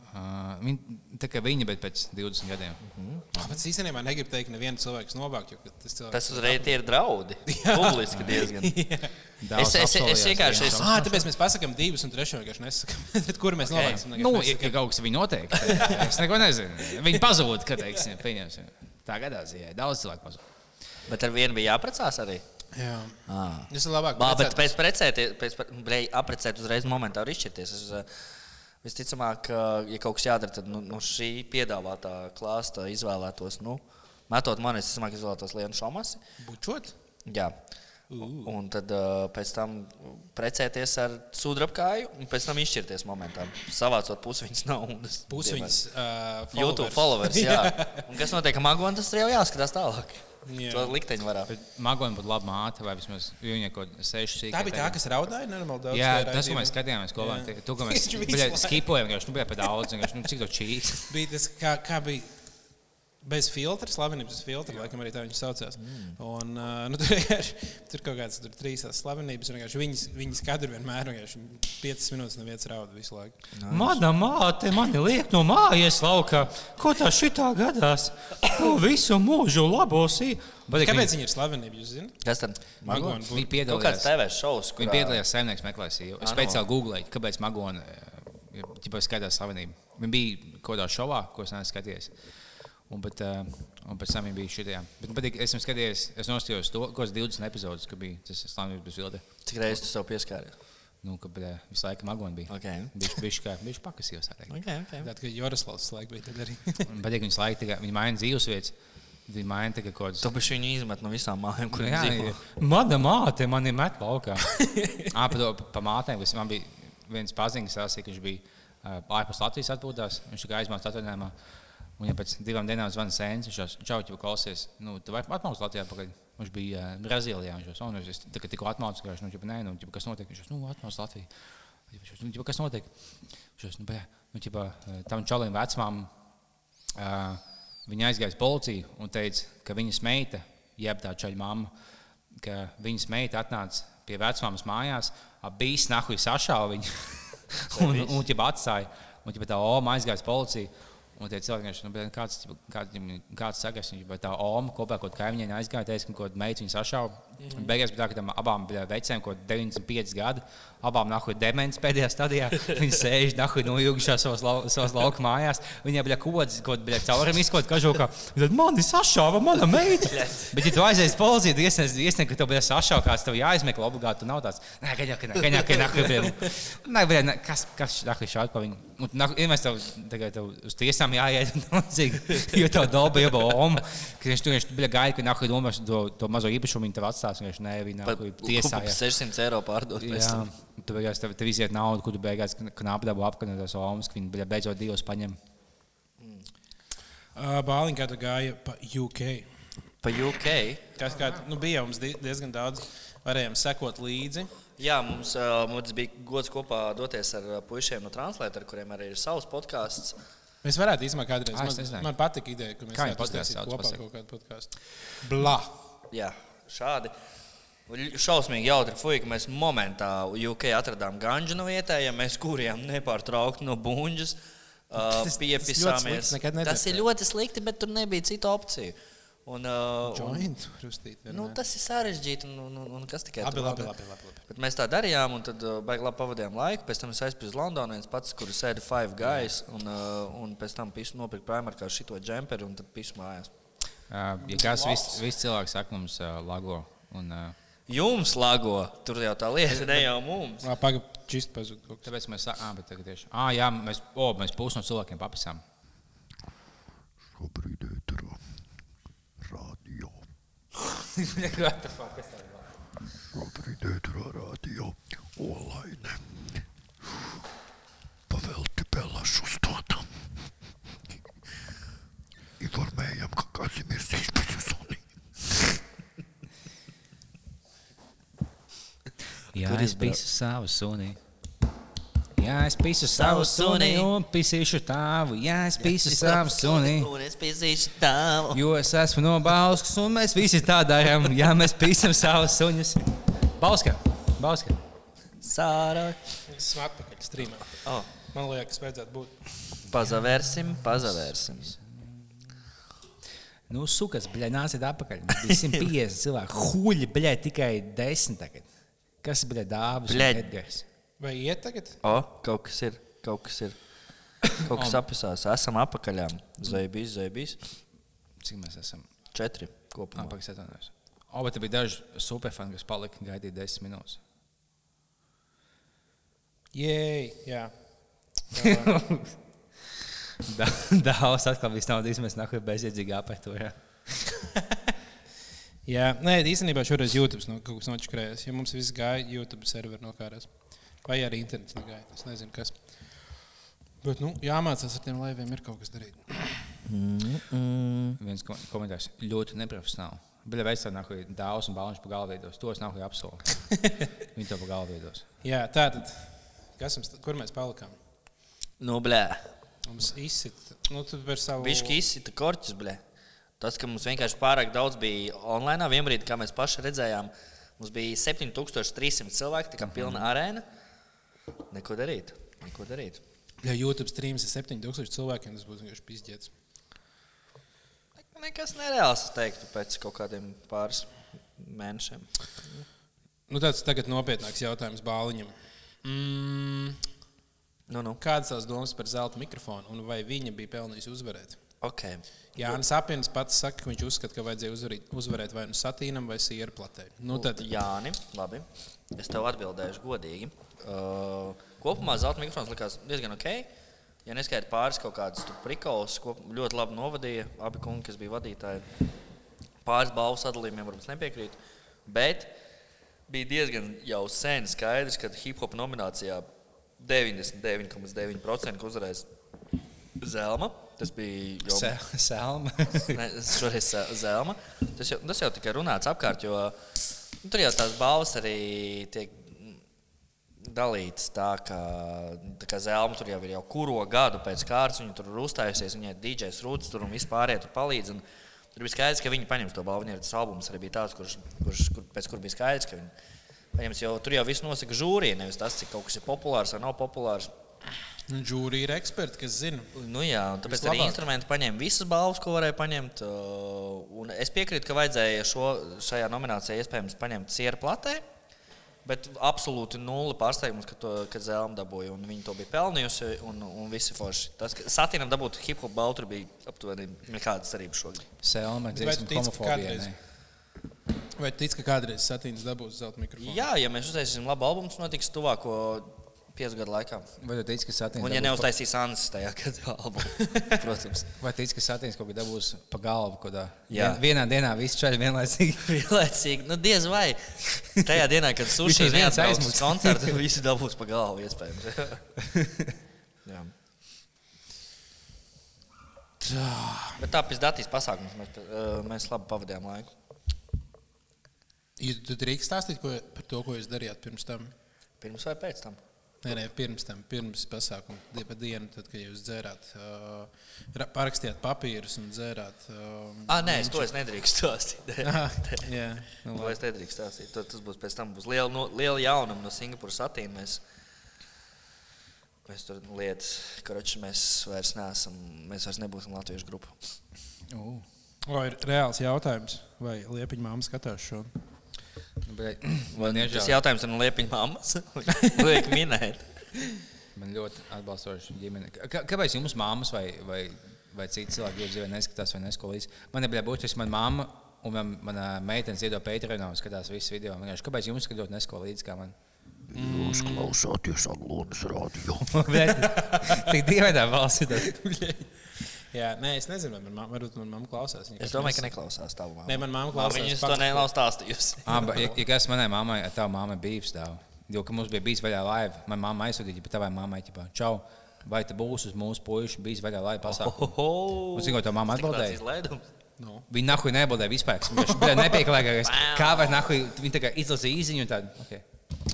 C: Uh, viņa, tā kā viņa, bet pēc 20 gadiem.
A: kāpēc īstenībā negribu teikt, ka nevienu cilvēku novākt, jo tas cilvēks.
B: Tas uzreiz tie ir draudi. Publiski diezgan.
C: Daudz
B: Es- es- es
C: apsolījās,
B: vienkārši-
C: jā.
B: es-
A: Ah, tāpēc mēs pasakām divus un trešo vienkārši nesakām. Tad, kur mēs
B: Ok.
A: novāksim?
C: Nu, ja, ja kaut kas viņa notiek, tad es neko nezinu. Viņa pazūd, kad teiksim, pieņemsim. Tā gadās, ja daudz cilvēku pazūd.
B: Bet ar vienu bija jāprecās arī.
A: Jā,
B: Ah.
A: tas ir labāk.
B: Mā, bet
A: precēt.
B: pēc precēties, pēc pre- brei- apprecēt uzreiz momentā var izšķirties. Es, eh, visticamāk, ka, ja kaut kas jādara, tad nu, nu šī piedāvātā klāsta izvēlētos, nu, metot man, es domāju, izvēlētos Lienu Šomasi.
A: Bučot?
B: Jā. Un tad uh, pēc tam precēties ar sudrabkāju, un pēc tam izšķirties momentā. Savācot pusiņas naudas.
A: Pusviņas. ā,
B: Diemēr. YouTube followers. Jā. Un kas notiek ar magonu, tas ir jau jāskatās tālāk.
A: Jā.
B: Jā. To likteņu varā.
C: Magoņa būtu laba māte, vai vismaz viņa kaut kāda seša.
A: Tā bija tā, kas raudāja normāli daudz.
C: Jā,
A: tajā
C: tas, ko
A: raidījumā.
C: mēs skatījāmies kopā,
A: Jā.
C: ir tas, ko mēs
A: Viņš visu
C: bļa,
A: laiku.
C: skipojam. vienkārši, Nu, bija par daudz, vienkārši, nu, cik to čīs.
A: bija tas, kā, kā bija. Bez filtra, slavenības filtra, laikam arī tā viņa saucās. Mm. Un, uh, nu, tur vienkārši tur kaut kādas tur trīs tās slavenības, un vienkārši viņas, viņas kadru vienmēr vienkārši piecas minūtes no vietas rauda visu laiku.
C: Mana māte mani liek no mājas laukā. Ko tā šitā gadās? To visu mūžu labosī.
A: Kāpēc viņa ir slavenība? Jūs zināt,
B: Kas tad?
A: Magona
C: Viņa
A: burka.
B: Kaut kāds TV
C: piedalījās.
B: šovs, kur
C: Viņa piedalījās saimnieks meklēšanā. Es
B: Ā, nu.
C: speciāli googlēju, kāpēc eh, Magona ģipā skatās savienību. Viņa bija kaut kādā šovā, ko es neesmu skatījies. Un, bet, eh, un pēc tam viņa bija šitajā. Bet, bet es esmu skatījies, es nostājos to, ko es 20 epizodus, ka bija tas slānis bez vilde.
B: Cik reizes tu sev pieskāries?
C: Nu, ka bija visu laiku Magona bija.
B: Okay.
C: Viņš bija pakasījis, tā teikt.
B: Okay, okay.
A: Tad, kad Joraslavs laik bija, tad arī.
C: Man patīk viņas laika, tā kā viņi maina dzīvesvietas. Viņi maina tā kā kaut kādas.
B: Tu biji viņu izmet no visām mājām, kur
C: Jā,
B: viņi dzīvo.
C: jā. Mana māte man ir met laukā. Ā, pa, to- pa mātēm, kas man bija viens paziņas, kas bija ā, ārpus Latvijas atpūtās. Viņš tikai aizmācās atvaļinājumā. Un, ja pēc divām dienām zvanīja sēnes, viņš jau čauķi klausies, nu, tu vari atmaukt Latvijā pagaidi. Viņš bija uh, Brazīlijā, viņš jau sonu, es tā kā tikko atmaucu, ka viņš, nu, ķipa, nē, nu, ķipa, kas notiek, viņš jau, nu, atmauc Latviju. Viņš jau, nu, ķipa, kas notiek? Viņš jau, nu, bē, nu, ķipa, eh, tam čalim vecmām, uh, viņa aizgāja uz policiju un teica, ka viņas meita, jeb tā čaļa mamma, ka viņas meita atnāca pie vecmāmas mājās, abīs nahuji sašāva viņu un, un, un ķipa, atstāja. Un, ķipa, tā, o, aizgāja uz policiju. Un tie cilvēki, kas bija kāds, ķipa, kāds, viņam- kāds sagas, viņš bija tā oma, kopā kaut kā kaimiņiem aizgāja, teica, ka kaut kāda meita viņu sašauba. Mm -hmm. Beigās bija tā, ka tam abām bija veciem, ko 95 gadi, abām nahuja demens pēdējā stadijā. Viņi sēž nahuja noilgušā savos, lau, savos lauka mājās. Viņiem bija kods, kaut bija caurim izkot kažokā. Tad man ir sašauba, mana meita. Bet, ja tu aizies policiju, tad iesniedz, iesniedz, ka tev bija sašauba, kāds tev jāizmeklē obligāti. Tu nav tāds, nē, gaļā, ka nē, gaļā, ka nahuja bija. Nē, bija, nē, kas, kas nahuja šādi pa viņu. Un, nahuj, ja mēs tev tagad tev uz tiesām jāiet, nocīgi, jo tev daba jau bija oma. Kad viņš tur bija gājis, ka nahuja domās to, to mazo īpašumu, viņi tev atstās. Viņš nē, viņa
B: Pat
C: nahuja
B: tiesā
C: tiesā. jā.
B: 600 eiro pārdot. pēc
C: Jā,
B: tam.
C: un tu beigās tev, tev iziet naudu, kur tu beigās knāpdabu apkanotās omas, ka viņi bija beidzot divus paņem.
A: Bāliņā tā gāja pa UK.
B: Pa UK.
A: Kas, kā, nu, bija jau mums di- diezgan daudz, varējām sekot līdzi.
B: Jā, mums, ā, mums bija gods kopā doties ar ā, puišiem no Translator, kuriem arī ir savs podkāsts.
A: Mēs varētu īstenībā kādreiz.
C: Ā, es
A: Man,
C: nezināju.
A: man patīk ideja, ka mēs
C: Kā viņu
A: varētu
C: podcasts
A: uztaisīt
C: sauc,
A: kopā
C: pasaki?
A: kaut kādu podkāstu. Blah!
B: Jā, šādi. Ļ- Šausmīgi jautri, fuck, mēs momentā UK atradām ganžu no vietējiem, mēs kurījām nepārtraukti no buļģas. Uh,
A: Tas- tas ļoti
B: piepisāmies.
A: slikti, nekad nedarīt.
B: tas ir ļoti slikti, bet tur nebija citu opciju. Un, uh, un,
A: Joint rustīt.
B: nu, tas ir sarežģīti. Un, un, un, un kas tikai
A: Labi,
B: tur
A: labi,
B: vēl-
A: labi, labi, labi.
B: Bet mēs tā darījām, un tad uh, baigi labi pavadījām laiku. Pēc tam es aizpildīju uz Londonu, viens pats, kur sēdi Five Guys, un, uh, un pēc tam pisu nopirku Primarkā šito džemperi, un tad pisu mājās.
C: Uh, ja kāds viss vis cilvēks saka mums uh, lago. Un, uh,
B: Jums lago, tur jau tā lieta, ne jau mums.
A: Pagaidām, čist pazudis kaut kas.
C: Tāpēc mēs sakām, bet tagad tieši. Ah, jā, mēs, oh, mēs pusi no cilvēkiem papisām.
D: Šobrīd ēterā radio. Šobrīd ēterā radio olaine. Pavelti Pelašu stotā. Informējam, ka Kazimirs izpējas un
C: Jā,
B: Kur
C: es
B: izbrauc?
C: pisu savu suni. Jā, es pisu savu suni
B: suni.
C: un pisīšu tavu. Jā, es pisu savu suni.
B: Un es piezīšu tālu.
C: Jo es esmu no Bauskas, un mēs visi tā darām. Jā, mēs pisam savus suņus. Bauska! Bauska!
B: Sāra.
A: Esmu atpakaļ strīmā.
B: Oh,
A: Man liekas, vajadzētu būt.
B: pazavērsim, pazavērsim.
C: Nu, sukas, bļa, nāciet atpakaļ. Mums bija 150 cilvēki. Huļi, bļa, tikai 10 tagad. Kas, bļa, dāvis?
B: Bļa.
C: Edgars.
A: Vai iet tagad?
B: O, oh, kaut kas ir, kaut kas ir. Kaut kas apisās, esam apakaļā. Zaibīs, zaibīs.
C: Cik mēs esam?
B: Četri kopumā.
C: Apakšā atvainojos. O, bet te bija daži superfani, kas palika gaidīt 10 minūtes.
A: Jē, jā.
C: Da- Daudz atkal viss naudas, mēs nākam bezjēdzīgi apētojam.
A: jā. Nē, īstenībā šoreiz YouTube no, kaut kas nočakrējās. Ja mums viss gāja, YouTube serveri nokārās. Vai arī internets negāja. Es nezinu, kas. Bet, nu, jāmācās ar tiem laiviem, ir kaut kas darīt.
C: Viens kom- komentārs ļoti neprofesionāli. Bija veids, kā nākuja dāvāns un balons pa galvīdos. To es nākuja apsolu. Viņi to pa galvīdos.
A: Jā, tā tad. Kas mums, kur mēs palikām?
B: Nu, blē.
A: Mums izsita. Nu, tu par savu.
B: Bišķi izsita korķis, blē. Tas, ka mums vienkārši pārāk daudz bija online, vienbrīd, kā mēs paši redzējām, mums bija 7300 cilvēki, tā kā pilna arēna. Neko darīt, neko darīt.
A: Ja YouTube streams ir 7000 cilvēkiem, tas būs vienkārši pizdzēts.
B: Nekas nereāls, es teiktu, pēc kaut kādiem pāris mēnešiem.
A: Nu, tāds tagad nopietnāks jautājums Bāliņam. Mm,
B: Nu, nu,
A: kādas tās domas par zelta mikrofonu un vai viņa bija pelnījusi uzvarēt?
B: ok.
A: Jā, Jānis Apins pats saka, ka viņš uzskata, ka vajadzēja uzvarīt, uzvarēt vai nu satīnam, vai sieru platē. Nu, tad,
B: Jāni, labi. Es tev atbildēšu godīgi. Uh, kopumā zelta mikrofons likās diezgan ok. Ja neskaidrs pāris kaut kādas prikaulas, ko ļoti labi novadīja abi kungi, kas bija vadītāji. Pāris balvu sadalījumiem varbūt nepiekrīt. Bet bija diezgan jau sen skaidrs, ka hip hop nominācijā 99,9% uzvarēs Zelma. Tas bija jau
C: Se- Selma.
B: Ne, Šoreiz zel- zelma. Tas jau, tas jau tika runāts apkārt, jo nu, tur jau tās balvas arī tiek dalītas tā, ka tā kā zelma tur jau ir jau kuro gadu pēc kārtas, viņa tur ir uzstājusies, viņai ir DJs rūtas tur un vispārējie tur palīdz. Un, Tur bija skaidrs, ka viņi paņems to balvu. Viņai ir tas albums arī bija tāds, kurš, kurš kur, pēc kura bija skaidrs, ka viņi paņems jau tur jau viss nosaka žūrija, nevis tas, cik kaut kas ir populārs vai nav populārs.
A: Nu, Žūri ir eksperti, kas zina.
B: Nu jā, un tāpēc arī
A: Vislabāk.
B: instrumenti paņēma visas balvas, ko varēja paņemt. uh, un Es piekrītu, ka vajadzēja šo, šajā nominācijā iespējams paņemt sieru platē, bet absolūti nulle pārsteigums, ka, to- ka Zelma dabūja. un Viņa to bija pelnījusi un, un visi forši. Tas, ka Satīnam dabūt hip hop balvu, tur bija aptuveni nekādas cerības šogad.
C: Selma,
A: Vai tu
C: dziesma,
A: tici, ka
C: homofobija.
A: kādreiz?
C: nē.
A: Vai tu tici, ka kādreiz Satīns dabūs zelta mikrofonu?
B: Jā, ja mēs uztaisīsim labu albumu, tas notiks tuvāko piecu gadu laikā.
C: Vai tu tici, ka Satīns
B: Un ja
C: dabūs pa-
B: neuztaisīs Ansis tajā gadā albumu, protams.
C: Vai tici, ka Satīns kaut kad dabūs pa galvu kaut kādā?
B: Jā.
C: Vien- Vienā dienā visi čaļi vienlaicīgi.
B: Vienlaicīgi, nu diez vai. Tajā dienā, kad
C: Viņš
B: suši
C: uz
B: ir
C: viens
B: viens aizmucis
C: aizmuks.
B: koncerts, visi dabūs pa galvu iespējams. Jā. Bet tā pēc datīs pasākums mēs, eh, mēs labi pavadījām laiku.
A: Jūs tu drīkst stāstīt ko, par to, ko jūs darījāt pirms tam?
B: Pirms vai pēc tam?
A: Nē, nē, pirms tam, pirms pasākuma, die- pa dienu, tad, kad jūs dzērāt, uh, ra- parakstījāt papīrus un dzērāt. Uh,
B: Ah, nē, es to es nedrīkstu stāstīt.
A: jā, nu,
B: To
A: labi.
B: es nedrīkstu stāstīt. To, tas būs pēc tam būs liela, no, liela jaunuma no Singapūras satīna. Mēs, mēs tur lietas, karoči, mēs vairs neesam, mēs vairs nebūsim latviešu grupa.
C: Ū.
A: O, ir reāls jautājums, vai liepiņa māma skatās šo?
C: Nu, bet-
B: Vai
C: Man
B: Tas
C: iežēl.
B: jautājums ir no liepiņa mammas. Liek minēt.
C: Man ļoti atbalstoši ģimene. Kā- Kāpēc jums māmas vai, vai, vai citi cilvēki jūs dzīvē neskatās vai neskolīs? Man ir būtiski, man māma un man, mana meitene ziedo Patreonā un skatās visus video. Man vienkārši, Kāpēc jums skatot neskolīs kā man?
D: Jūs klausāties Aglūnas radio.
C: Tik dievēdā valsts ir. tas.
A: Jā, nē, es nezinu, vai manā mamā klausās. Viņa
B: Es domāju, ka neklausās tavu mammu.
A: Nē, man mamma
B: Mamma,
A: klausās.
B: Viņas to
A: Paks-
B: nav stāstījusi.
C: Ā, Ah, bet, Ja, ja kas manai mammai, ar tavu mammu bija stāv, jo ka mums bija bijis vaļā laiva, man mamma aizsūtīja, bet tavai mammai ķipā, čau, vai te būs uz mūsu puišu bijis vaļā laiva
B: Oh,
C: pasākumu? Un zini, ko tā mamma atbildēja?
A: Nu.
C: Viņa nahuj nebildēja vispār. Viņš bija nepieklājīgākais. Kā var nahuj, viņa tā kā izlasīja īziņu un tādu. Okay.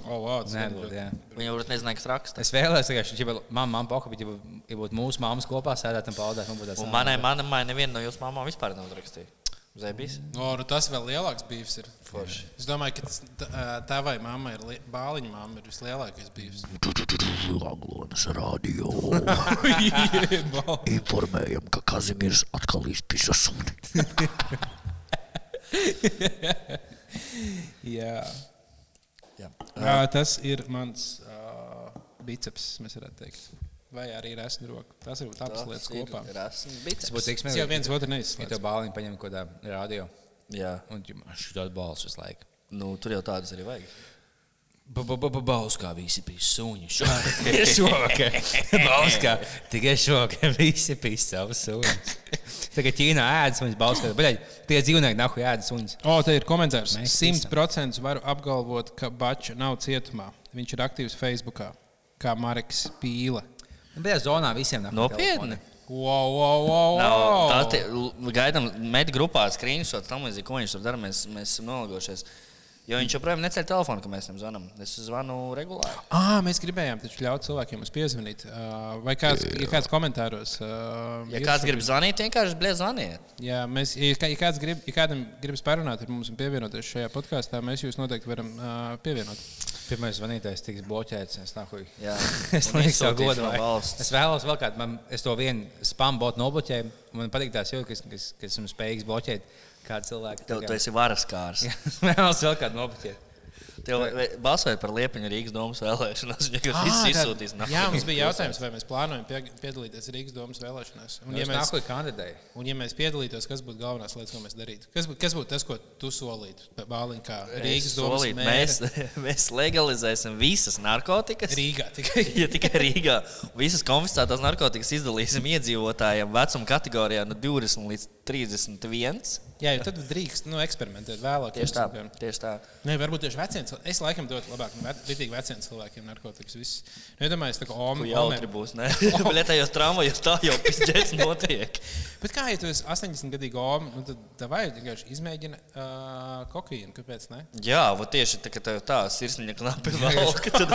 A: O, Oh, wow, tas
C: Nē,
A: ir
C: būt,
A: ļoti-
C: jā.
B: Viņa varbūt nezināja, kas raksta.
C: Es vēlējos, ka šī mamma man pakāpja, ja bū- ja būtu mūsu mammas kopā sēdēt un paudēt. Man būtu tāds
B: Un
C: sāpes.
B: manai mammai neviena no jūsu mamām vispār nav rakstījusi. Zēbīs?
A: O, nu tas vēl lielāks bijis.
B: Forši.
A: Es domāju, ka tas, tā, ā, tavai mammai ir li- bāliņa mamma ir vislielākais bijis.
D: Aglūnas radio. Informējam, ka Kazimirs atkal izpisa suni.
A: Jā.
B: Jā.
A: Uh, tas ir mans uh, biceps, mēs varētu teikt. Vai arī ir esmu roka. Tas ir abas lietas kopā.
C: Tas
B: Tas būtu
C: būtu
B: tik.
A: Es jau
C: tiksmīgi.
A: viens otru
C: Ja
A: neizslēdzu.
C: tev bāliņu paņem kaut kādā radio
B: Jā,
C: un šādu balsu visu laiku.
B: nu tur jau tādas arī vajag.
C: Baus kā visi bija suņi. Šokā. Baus kā tikai šokā. Visi bija savs suņi. Tagad Ķīnā ēdas un viņš baus kā. Bļaļ, tie dzīvnieki nahuj ēdas suņus.
A: O, te ir komentārs.
C: Mēs
A: 100% varu apgalvot, ka Bačs nav cietumā. Viņš ir aktīvs Facebook, kā Marks Pīle.
C: Bija zonā visiem nahuj.
B: Nopietni.
A: Wow, wow, wow,
B: Nav,
A: wow.
B: tā tie- l- gaidām, meklējot grupā, skrīnšots, tam līdzīgi, ko viņš tur dara. Mēs, mēs esam nolaidušies. Jo viņš joprojām neceļ telefonu, ka mēs viņam zvanām. Es zvanu regulāri.
A: Ah, mēs gribējām taču ļaut cilvēkiem mums piezvanīt. Uh, vai kāds, ja kāds komentāros? Uh,
B: Ja
A: ir
B: kāds
A: šobrīd?
B: grib zvanīt, vienkārši blēž zvaniet.
A: Jā, mēs, ja, kā- ja, kāds grib, ja kādam gribas parunāt ar mums un pievienoties šajā podkāstā, mēs jūs noteikti varam uh, pievienot.
C: Pirmais zvanītājs tiks bloķēts. Es nahuj.
B: Jā,
C: Es
B: Un
C: lieku
B: izsūtīs
C: savu godu
B: no
C: vai-
B: valsts.
C: Es vēlos vēl kādu, man, es to vienu spam botu nobloķēju. un Man patīk tās jūtas, kas, kas, kas esmu spējīgs bloķēt kādu cilvēku.
B: Tev
C: Tā kā-
B: tas ir varas kārs.
C: Jā, es vēlos vēl kādu nobloķēt.
B: Tev vai- balsoja par Liepiņu Rīgas domas vēlēšanās. Viņa
A: Ah,
B: viss
A: tā-
B: izsūtīs.
A: Jā, mums bija jautājums, vai mēs plānojam pie, piedalīties Rīgas domas vēlēšanās. Un,
C: Un, ja
A: ja mēs,
C: nāku kandidēju,
A: un ja mēs piedalītos, kas būtu galvenās lietas, ko mēs darītu? Kas, bū- kas būtu tas, ko tu solītu? Bāliņ, kā Rīgas domas
B: solīt, mēs,
A: mērs.
B: mēs legalizēsim visas narkotikas.
A: Rīgā tikai.
B: Ja tikai Rīgā visas konfiscētās narkotikas izdalīsim iedzīvotājiem vecuma kategorijā no 20 līdz 31.
A: Jā, jo tad drīkst nu, eksperimentēt vēlāk.
B: Tieši tā, tieši tā.
A: Ne, varbūt tieši veciem veciem cilvēkiem. Es laikam dotu labāk, nu, rītīgi veciem cilvēkiem narkotikas. viss. Nu, Iedomājieties, tā kā
B: Tu
A: Oma
B: jau
A: Oma-
B: tur būs. Lietējos tramvajos tā jau pizdzēts notiek.
A: Bet kā jau jūs 80 gadu gājat, nu, tad tā vajag vienkārši izmēģināt uh, kokaīnu. Kāpēc? Ne?
B: Jā, vot tieši tā, ka tev tā sirsniņa knapi valka, tad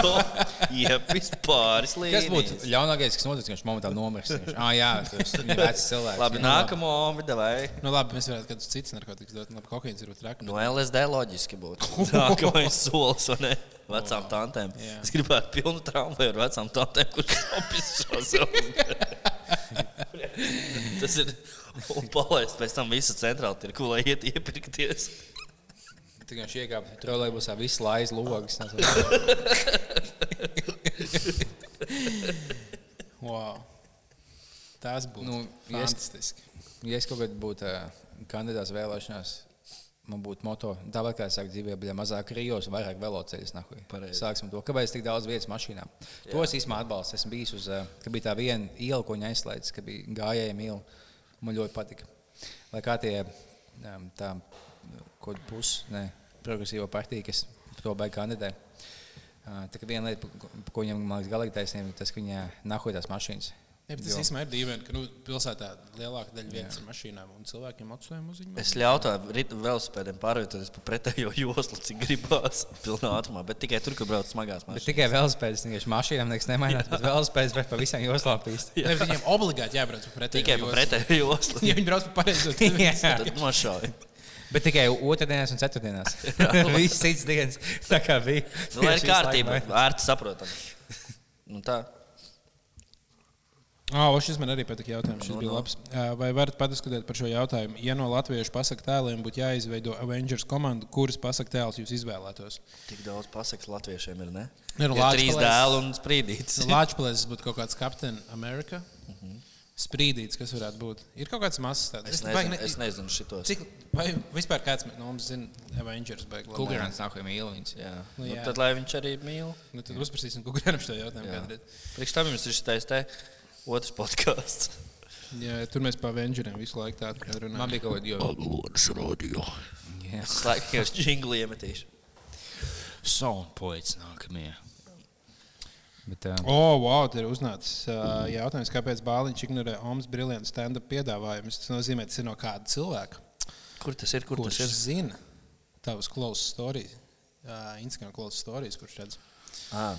B: iepis pāris līnijas.
C: Kas būtu ļaunākais, kas notiks, ja viņš momentā nomirs? Viņš, Ah, jā, tas ir vecs cilvēks.
B: Labi,
C: Jā,
B: nākamo ombi, vai?
A: Nu, labi, mēs varētu kādus citus narkotikas dot. nu, Labi, kokaīns ir otrāk.
B: No LSD loģiski būtu. Nākamais solis, vai ne? Vecām tantēm.
A: Jā.
B: Es gribētu pilnu tramvaju ar vecām tantēm, kurš apis šo zelmu. Tas ir. Un palaist pēc tam visu centrālu tirku, lai iet iepirkties.
C: Tā kā viņš iekāpa trolejbusā, visu laiz logus.
A: Wow. Tas būtu nu,
C: Nu, ja es-
A: fantastiski.
C: Ja es kaut kad būtu ā, kandidāts vēlēšanās, man būtu moto, tāpat kā es sāku dzīvē, bija mazāk Rijos, vairāk veloceļus. nahuj.
B: Pareizi.
C: Sāksim to. Kāpēc tik daudz vietas mašīnām? To es īstenībā atbalstu. Esmu bijis uz, ā, kad bija tā viena iela, ko viņa aizslēdz, kad bija gājēji iela. Man ļoti patika. Lai kā tie ām, tā, ko pusi, ne, progresīvo partija, kas par to beig kandidē. Ā, Tā kā viena lieta, pa- pa ko viņam, man liekas, galīgi taisnība, ir tas, ka viņa nahuj tās mašīnas.
A: Jā, bet tas īstenībā ir dīvaini, ka nu, pilsētā lielākā daļa vietas ir mašīnām un cilvēkiem atstājām uz viņu.
B: Es ļautu rit- velosipēdiem pārvietoties pa pretējo joslu, cik gribās. Pilnā ātrumā, bet tikai tur, kur brauc smagās
C: Bet
B: mašīnas.
C: tikai velospēdas, nevis mašīnām nekas nemainās. Bet velospēdas var pavisam joslām pīst.
A: Ne, bet viņiem obligāti jābrauc pa pretēju.
B: Tikai pa
A: joslu.
B: pretējo joslu.
A: Ja viņi brauc pa pareizo ceļu,
C: Jā.
B: Tad nošauj. Nu,
C: Bet tikai otrdienās un ceturtdienās. Viss cits dienas. Tā kā bija.
B: Nu, lai ir
C: Tieši
B: kārtība,
C: visu laiku
B: ērti saprotami. Nu, tā.
A: Oh, šis man arī patīk jautājums. Šis
B: Nu,
A: bija
B: nu.
A: labs. Ā, Vai varat padiskutēt par šo jautājumu? Ja no latviešu pasaku tēliem būtu jāizveido Avengers komanda, kuras pasaku tēls jūs izvēlētos?
B: Tik daudz pasakas latviešiem ir. Ne?
A: Ir
B: Ir Nu,
A: Lāčpalais.
B: trīs dēli un sprīdītis.
A: Lāčplēsis būtu kaut kāds Captain America. Sprīdīts, kas varētu būt. Ir kaut kāds mazs tāds.
B: Mhm. Es
A: baigi
B: nezinu, es nezinu šitos.
A: Cik, vai vispār kāds no mums zina Avengers? baigi labi?
C: Kukurāns nākamajam mīlīns.
B: Jā.
A: Nu,
B: Nu,
A: jā.
B: tad lai viņš arī mīl.
A: Nu, tad uzprasīsim Kukurānam šo jautājumu.
B: Jā.
A: kādreiz.
B: Priekš tam jums ir šis te otrs podkāsts.
A: Jā, tur mēs par Avengeriem visu laiku tādu runājam.
C: Man bija kaut kāda jau.
D: Lonas radio.
B: Es laikam jau jinglī iemetīšu.
C: Sound poets nākamie. Bet, um,
A: O, oh, wow, tur ir uznācis uh, jautājums, kāpēc Bāliņš ignorē Omas brīvdienas stand-up piedāvājumus. Tas nozīmē, tas ir no kāda cilvēka,
B: Kur tas ir? Kur
A: kurš
B: tas ir?
A: zina tavas close stories, uh, Instagram close stories, kurš redz.
B: Ah.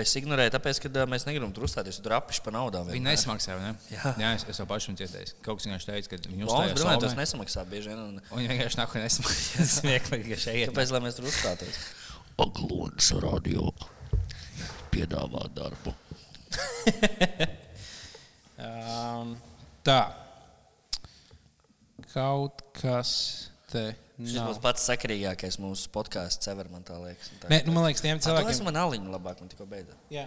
B: Es ignorēju, tāpēc, ka mēs negribam tur uzstāties. Tur apšu par naudām.
C: Viņi
B: vienmēr.
C: nesmaksā, vai ne?
B: Jā.
C: Jā es, es jau pašu viņam dzirdēju. Kaut kas vienkārši teica, ka viņi
B: Lomas
C: uzstājās
B: brillēm tas
C: salmē,
B: nesamaksā bieži vien. un
C: Un viņi vienkārši nākamajam nesmaksā. Smieklīgi, ka šeit ir.
B: Tāpēc, lai mēs tur uzstātos.
D: Aglonas radio. Piedāvā darbu.
A: Um, tā. Kaut kas te
B: Šis
A: nav.
B: būs pats sakarīgākais mūsu podkāsts. Cever, man tā liekas. Un Tā.
A: Nē, nu, man liekas, tiem
B: cilvēkiem. Tas
A: cilvēkiem.
B: man aliņu labāk, man tikko beidzās.
A: Jā.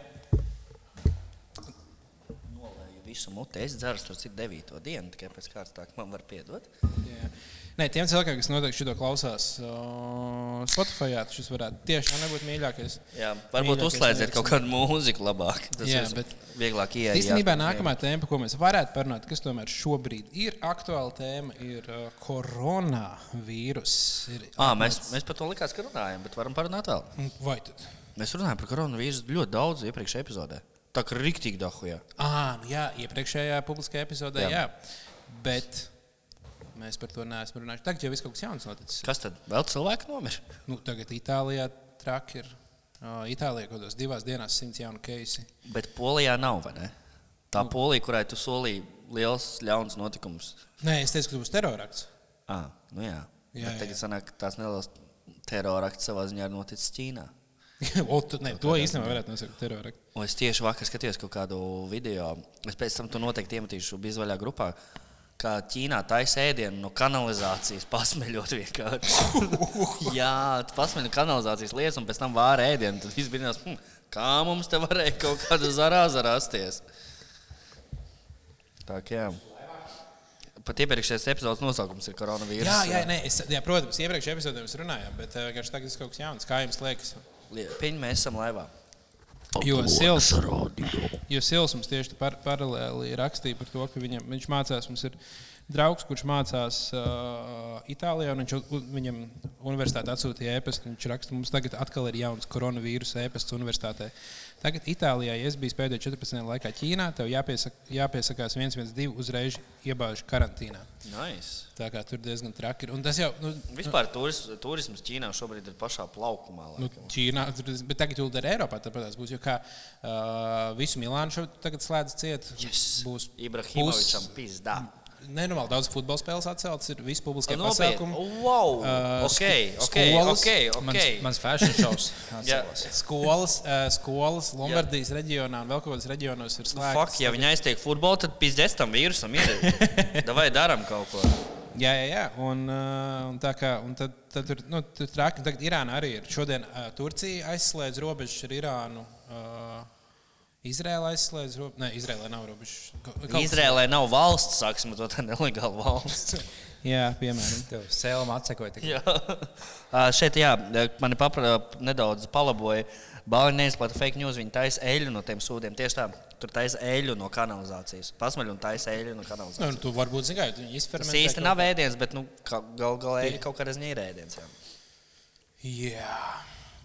B: Nolēju visu muti. Es dzeru tur citu devīto dienu, tikai pēc kārtas tā, ka man var piedot.
A: Jā. Nē, tiem cilvēkiem, kas noteikti šo klausās uh, Spotify, šis varētu tiešām nebūt mīļākais.
B: Jā, varbūt
A: Mīļākais
B: uzslēdziet
A: miegs.
B: kaut kādu mūziku labāk. Tas
A: Jā,
B: jā,
A: bet-
B: bet vieglāk ieiet.
A: Īstenībā nākamā tēma, par ko mēs varētu parunāt, kas tomēr šobrīd ir aktuāla tēma, ir uh, koronavīrus. Ir
B: À, mēs, mēs par to likām, ka runājam, bet varam parunāt vēl.
A: Vai tad?
B: Mēs runājam par koronavīrusu ļoti daudz iepriekšējā epizodē. Tā kā rīktīgi dahujā.
A: À, nu jā, iepriekšējā publiskajā epizodē,
B: Jā.
A: jā. jā. Bet mēs par to neesam runājuši. Tagad jau viss kaut kas jauns noticis.
B: Kas tad vēl cilvēki nomira?
A: Nu, tagad Itālijā traki ir. Uh, Itālijā kaut kādos divās dienās simts jaunu keisi.
B: Bet Polijā nav, vai ne?
A: Nu.
B: Tā Polija, kurai tu solīji liels, ļauns notikums.
A: Nē, es teicu, ka tas būs terorakts.
B: À, nu jā.
A: Jā,
B: jā, bet
A: jā, jā.
B: tagad sanāk, ka tās nelielas terorakts savā ziņā ir noticis Ķīnā.
A: o, tu, ne, to īstenībā varētu nosaukt par teroraktu.
B: Un es tieši vakar skatījos kaut kādu video, es pēc tam to noteikti iemetīšu bizvaļā grupā. Kā Ķīnā taisa ēdienu no kanalizācijas, pasmeļot vienkārši. Jā, pasmeļot kanalizācijas lietas, un pēc tam vāra ēdienu. Tad viss bija hm, kā mums te varēja kaut kāda zarāza rasties. Tā kā jā. Pat iepriekšējais epizodes nosaukums ir koronavīruss.
A: Jā, jā, nē, es, jā protams, iepriekšējā epizodē mēs runājām, bet eh, vienkārši tagad tas kaut kas jauns. Kā jums liekas?
B: Pieņem, mēs esam laivā.
A: Jo
D: Aglonas
A: silts.
D: radio.
A: Jo Sils mums tieši par, paralēli rakstīja par to, ka viņam, viņš mācās. Mums ir draugs, kurš mācās uh, Itālijā, un viņš, u- viņam universitāte atsūtīja ēpastu. Viņš raksta, mums tagad atkal ir jauns koronavīrusa ēpasts universitātē. Tagad Itālijā, ja es biju pēdējo 14 dienu laikā Ķīnā, tev jāpiesak, jāpiesakās 112 uzreiz iebāžu karantīnā.
E: Nice.
A: Tā kā tur diezgan traki ir. Un tas jau, nu,
B: Vispār turis, turisms Ķīnā šobrīd ir pašā plaukumā.
A: Nu,
B: laikam.
A: Ķīnā, tur tas- bet tagad jau ir Eiropā. Tāpat būs jau kā uh, visu Milānu šobrīd tagad slēdz ciet.
B: Yes.
A: Būs
B: Ibrahimovičam pizdā.
A: nenormāli daudz futbola spēles atceltas, ir visi publiskie
B: Nu, Nopietni.
A: pasākumi.
B: Wow!
A: Uh,
B: Ok,
A: sk-
B: ok,
A: skolas.
B: ok, ok.
C: Mans fashion šovs.
B: Jā.
A: Skolas, uh, skolas Lombardijas reģionā un vēl kaut kādos reģionos ir
B: Nu, Fuck,
A: slēgts.
B: ja viņi aiztiek futbolu, tad pizdēs tam vīrusam ir. Davai darām kaut ko.
A: Jā, jā, jā. Un, uh, un tā kā un tad, tad tur nu, tur traki. Tagad Irāna arī ir. Šodien uh, Turcija aizslēdz robežas ar Irānu. Uh, Izrēlē aizslēdz robežas. Nē, Izrēlē nav robežas. Kaut- kaut kas-
B: Izrēlē nav valsts, sāksim to tā nelegāla valsts.
A: Jā, piemēram.
C: Tev sēlam atsakoja.
B: Jā. Ā, Šeit, jā, eh, mani papra, nedaudz palaboja. Balniņa neizplatīja fake news. Viņa taisa eļu no tiem sūdiem. Tieši tā, tur taisa eļu no kanalizācijas. Pasmaļ un taisa eļu no
A: Nu,
B: kanalizācijas.
A: nu, tu varbūt zini, ka viņi
B: Tas
A: izfermentē.
B: īsti
A: kaut
B: nav
A: ko.
B: ēdiens, bet nu, kā- gal galā eļļa kaut kādā ziņā ir ēdiens. Jā,
A: Jā,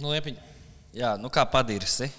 A: nu, liepiņa.
B: jā nu kā padirsi.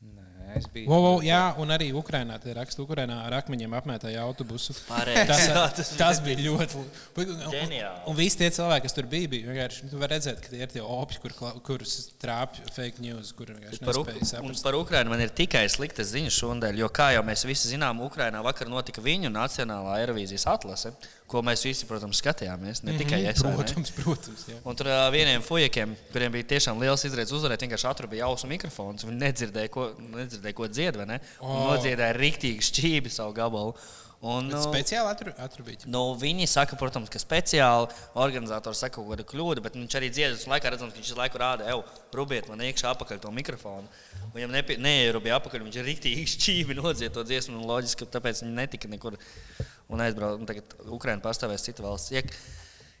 C: Nē, es biju.
A: Wow, wow, jā, un arī Ukrainā tie raksta, Ukrainā ar akmeņiem apmētāja autobusu.
B: Pareizi.
A: Tas,
B: Jā, tas
A: tas bija ļoti labi. Un,
B: Ģeniāli.
A: un visi tie cilvēki, kas tur bija, bija vienkārši. nu, Tu vari redzēt, ka tie ir tie opļi, kur, kla- kurus trāpīja fake news, kur vienkārši
B: Par, Uk
A: nespēja
B: un
A: saprast.
B: par Ukrajinu man ir tikai slikta ziņa šodien, jo, kā jau mēs visi zinām, Ukrajinā vakar notika viņu nacionālā aerovīzijas atlase, ko mēs visi, protams, skatījāmies. Ne tikai es. vai ne?
A: Mhm. Protams, protams. Jā.
B: Un tur ā, vieniem fujakiem, kuriem bija tiešām liels izredzes uzvarēt, vienkārši atrabīja ausu mikrofons. Viņi nedzirdēja, ko, nedzirdēja, ko dzied, vai ne? Oh.
A: O.
B: Nodziedāja rīktīgi šķībi savu gabalu. Un,
A: Bet
B: nu,
A: speciāli atru- atrubīja.
B: Nu, viņi saka, protams, ka speciāli organizators saka kaut kādu kļūdu, bet viņš arī dziedas un laikā redzams, ka viņš visu laiku rāda, ej, rubiet man iekšā apakaļ to mikrofonu. Un Viņam nepie- neierūpēja apakaļ, viņš ir rīktīgi šķīvi nodzied to dziesmu, un loģiski, ka tāpēc viņi netika nekur un aizbrauca. Un tagad Ukraina pastāvēs cita valsts. Ja,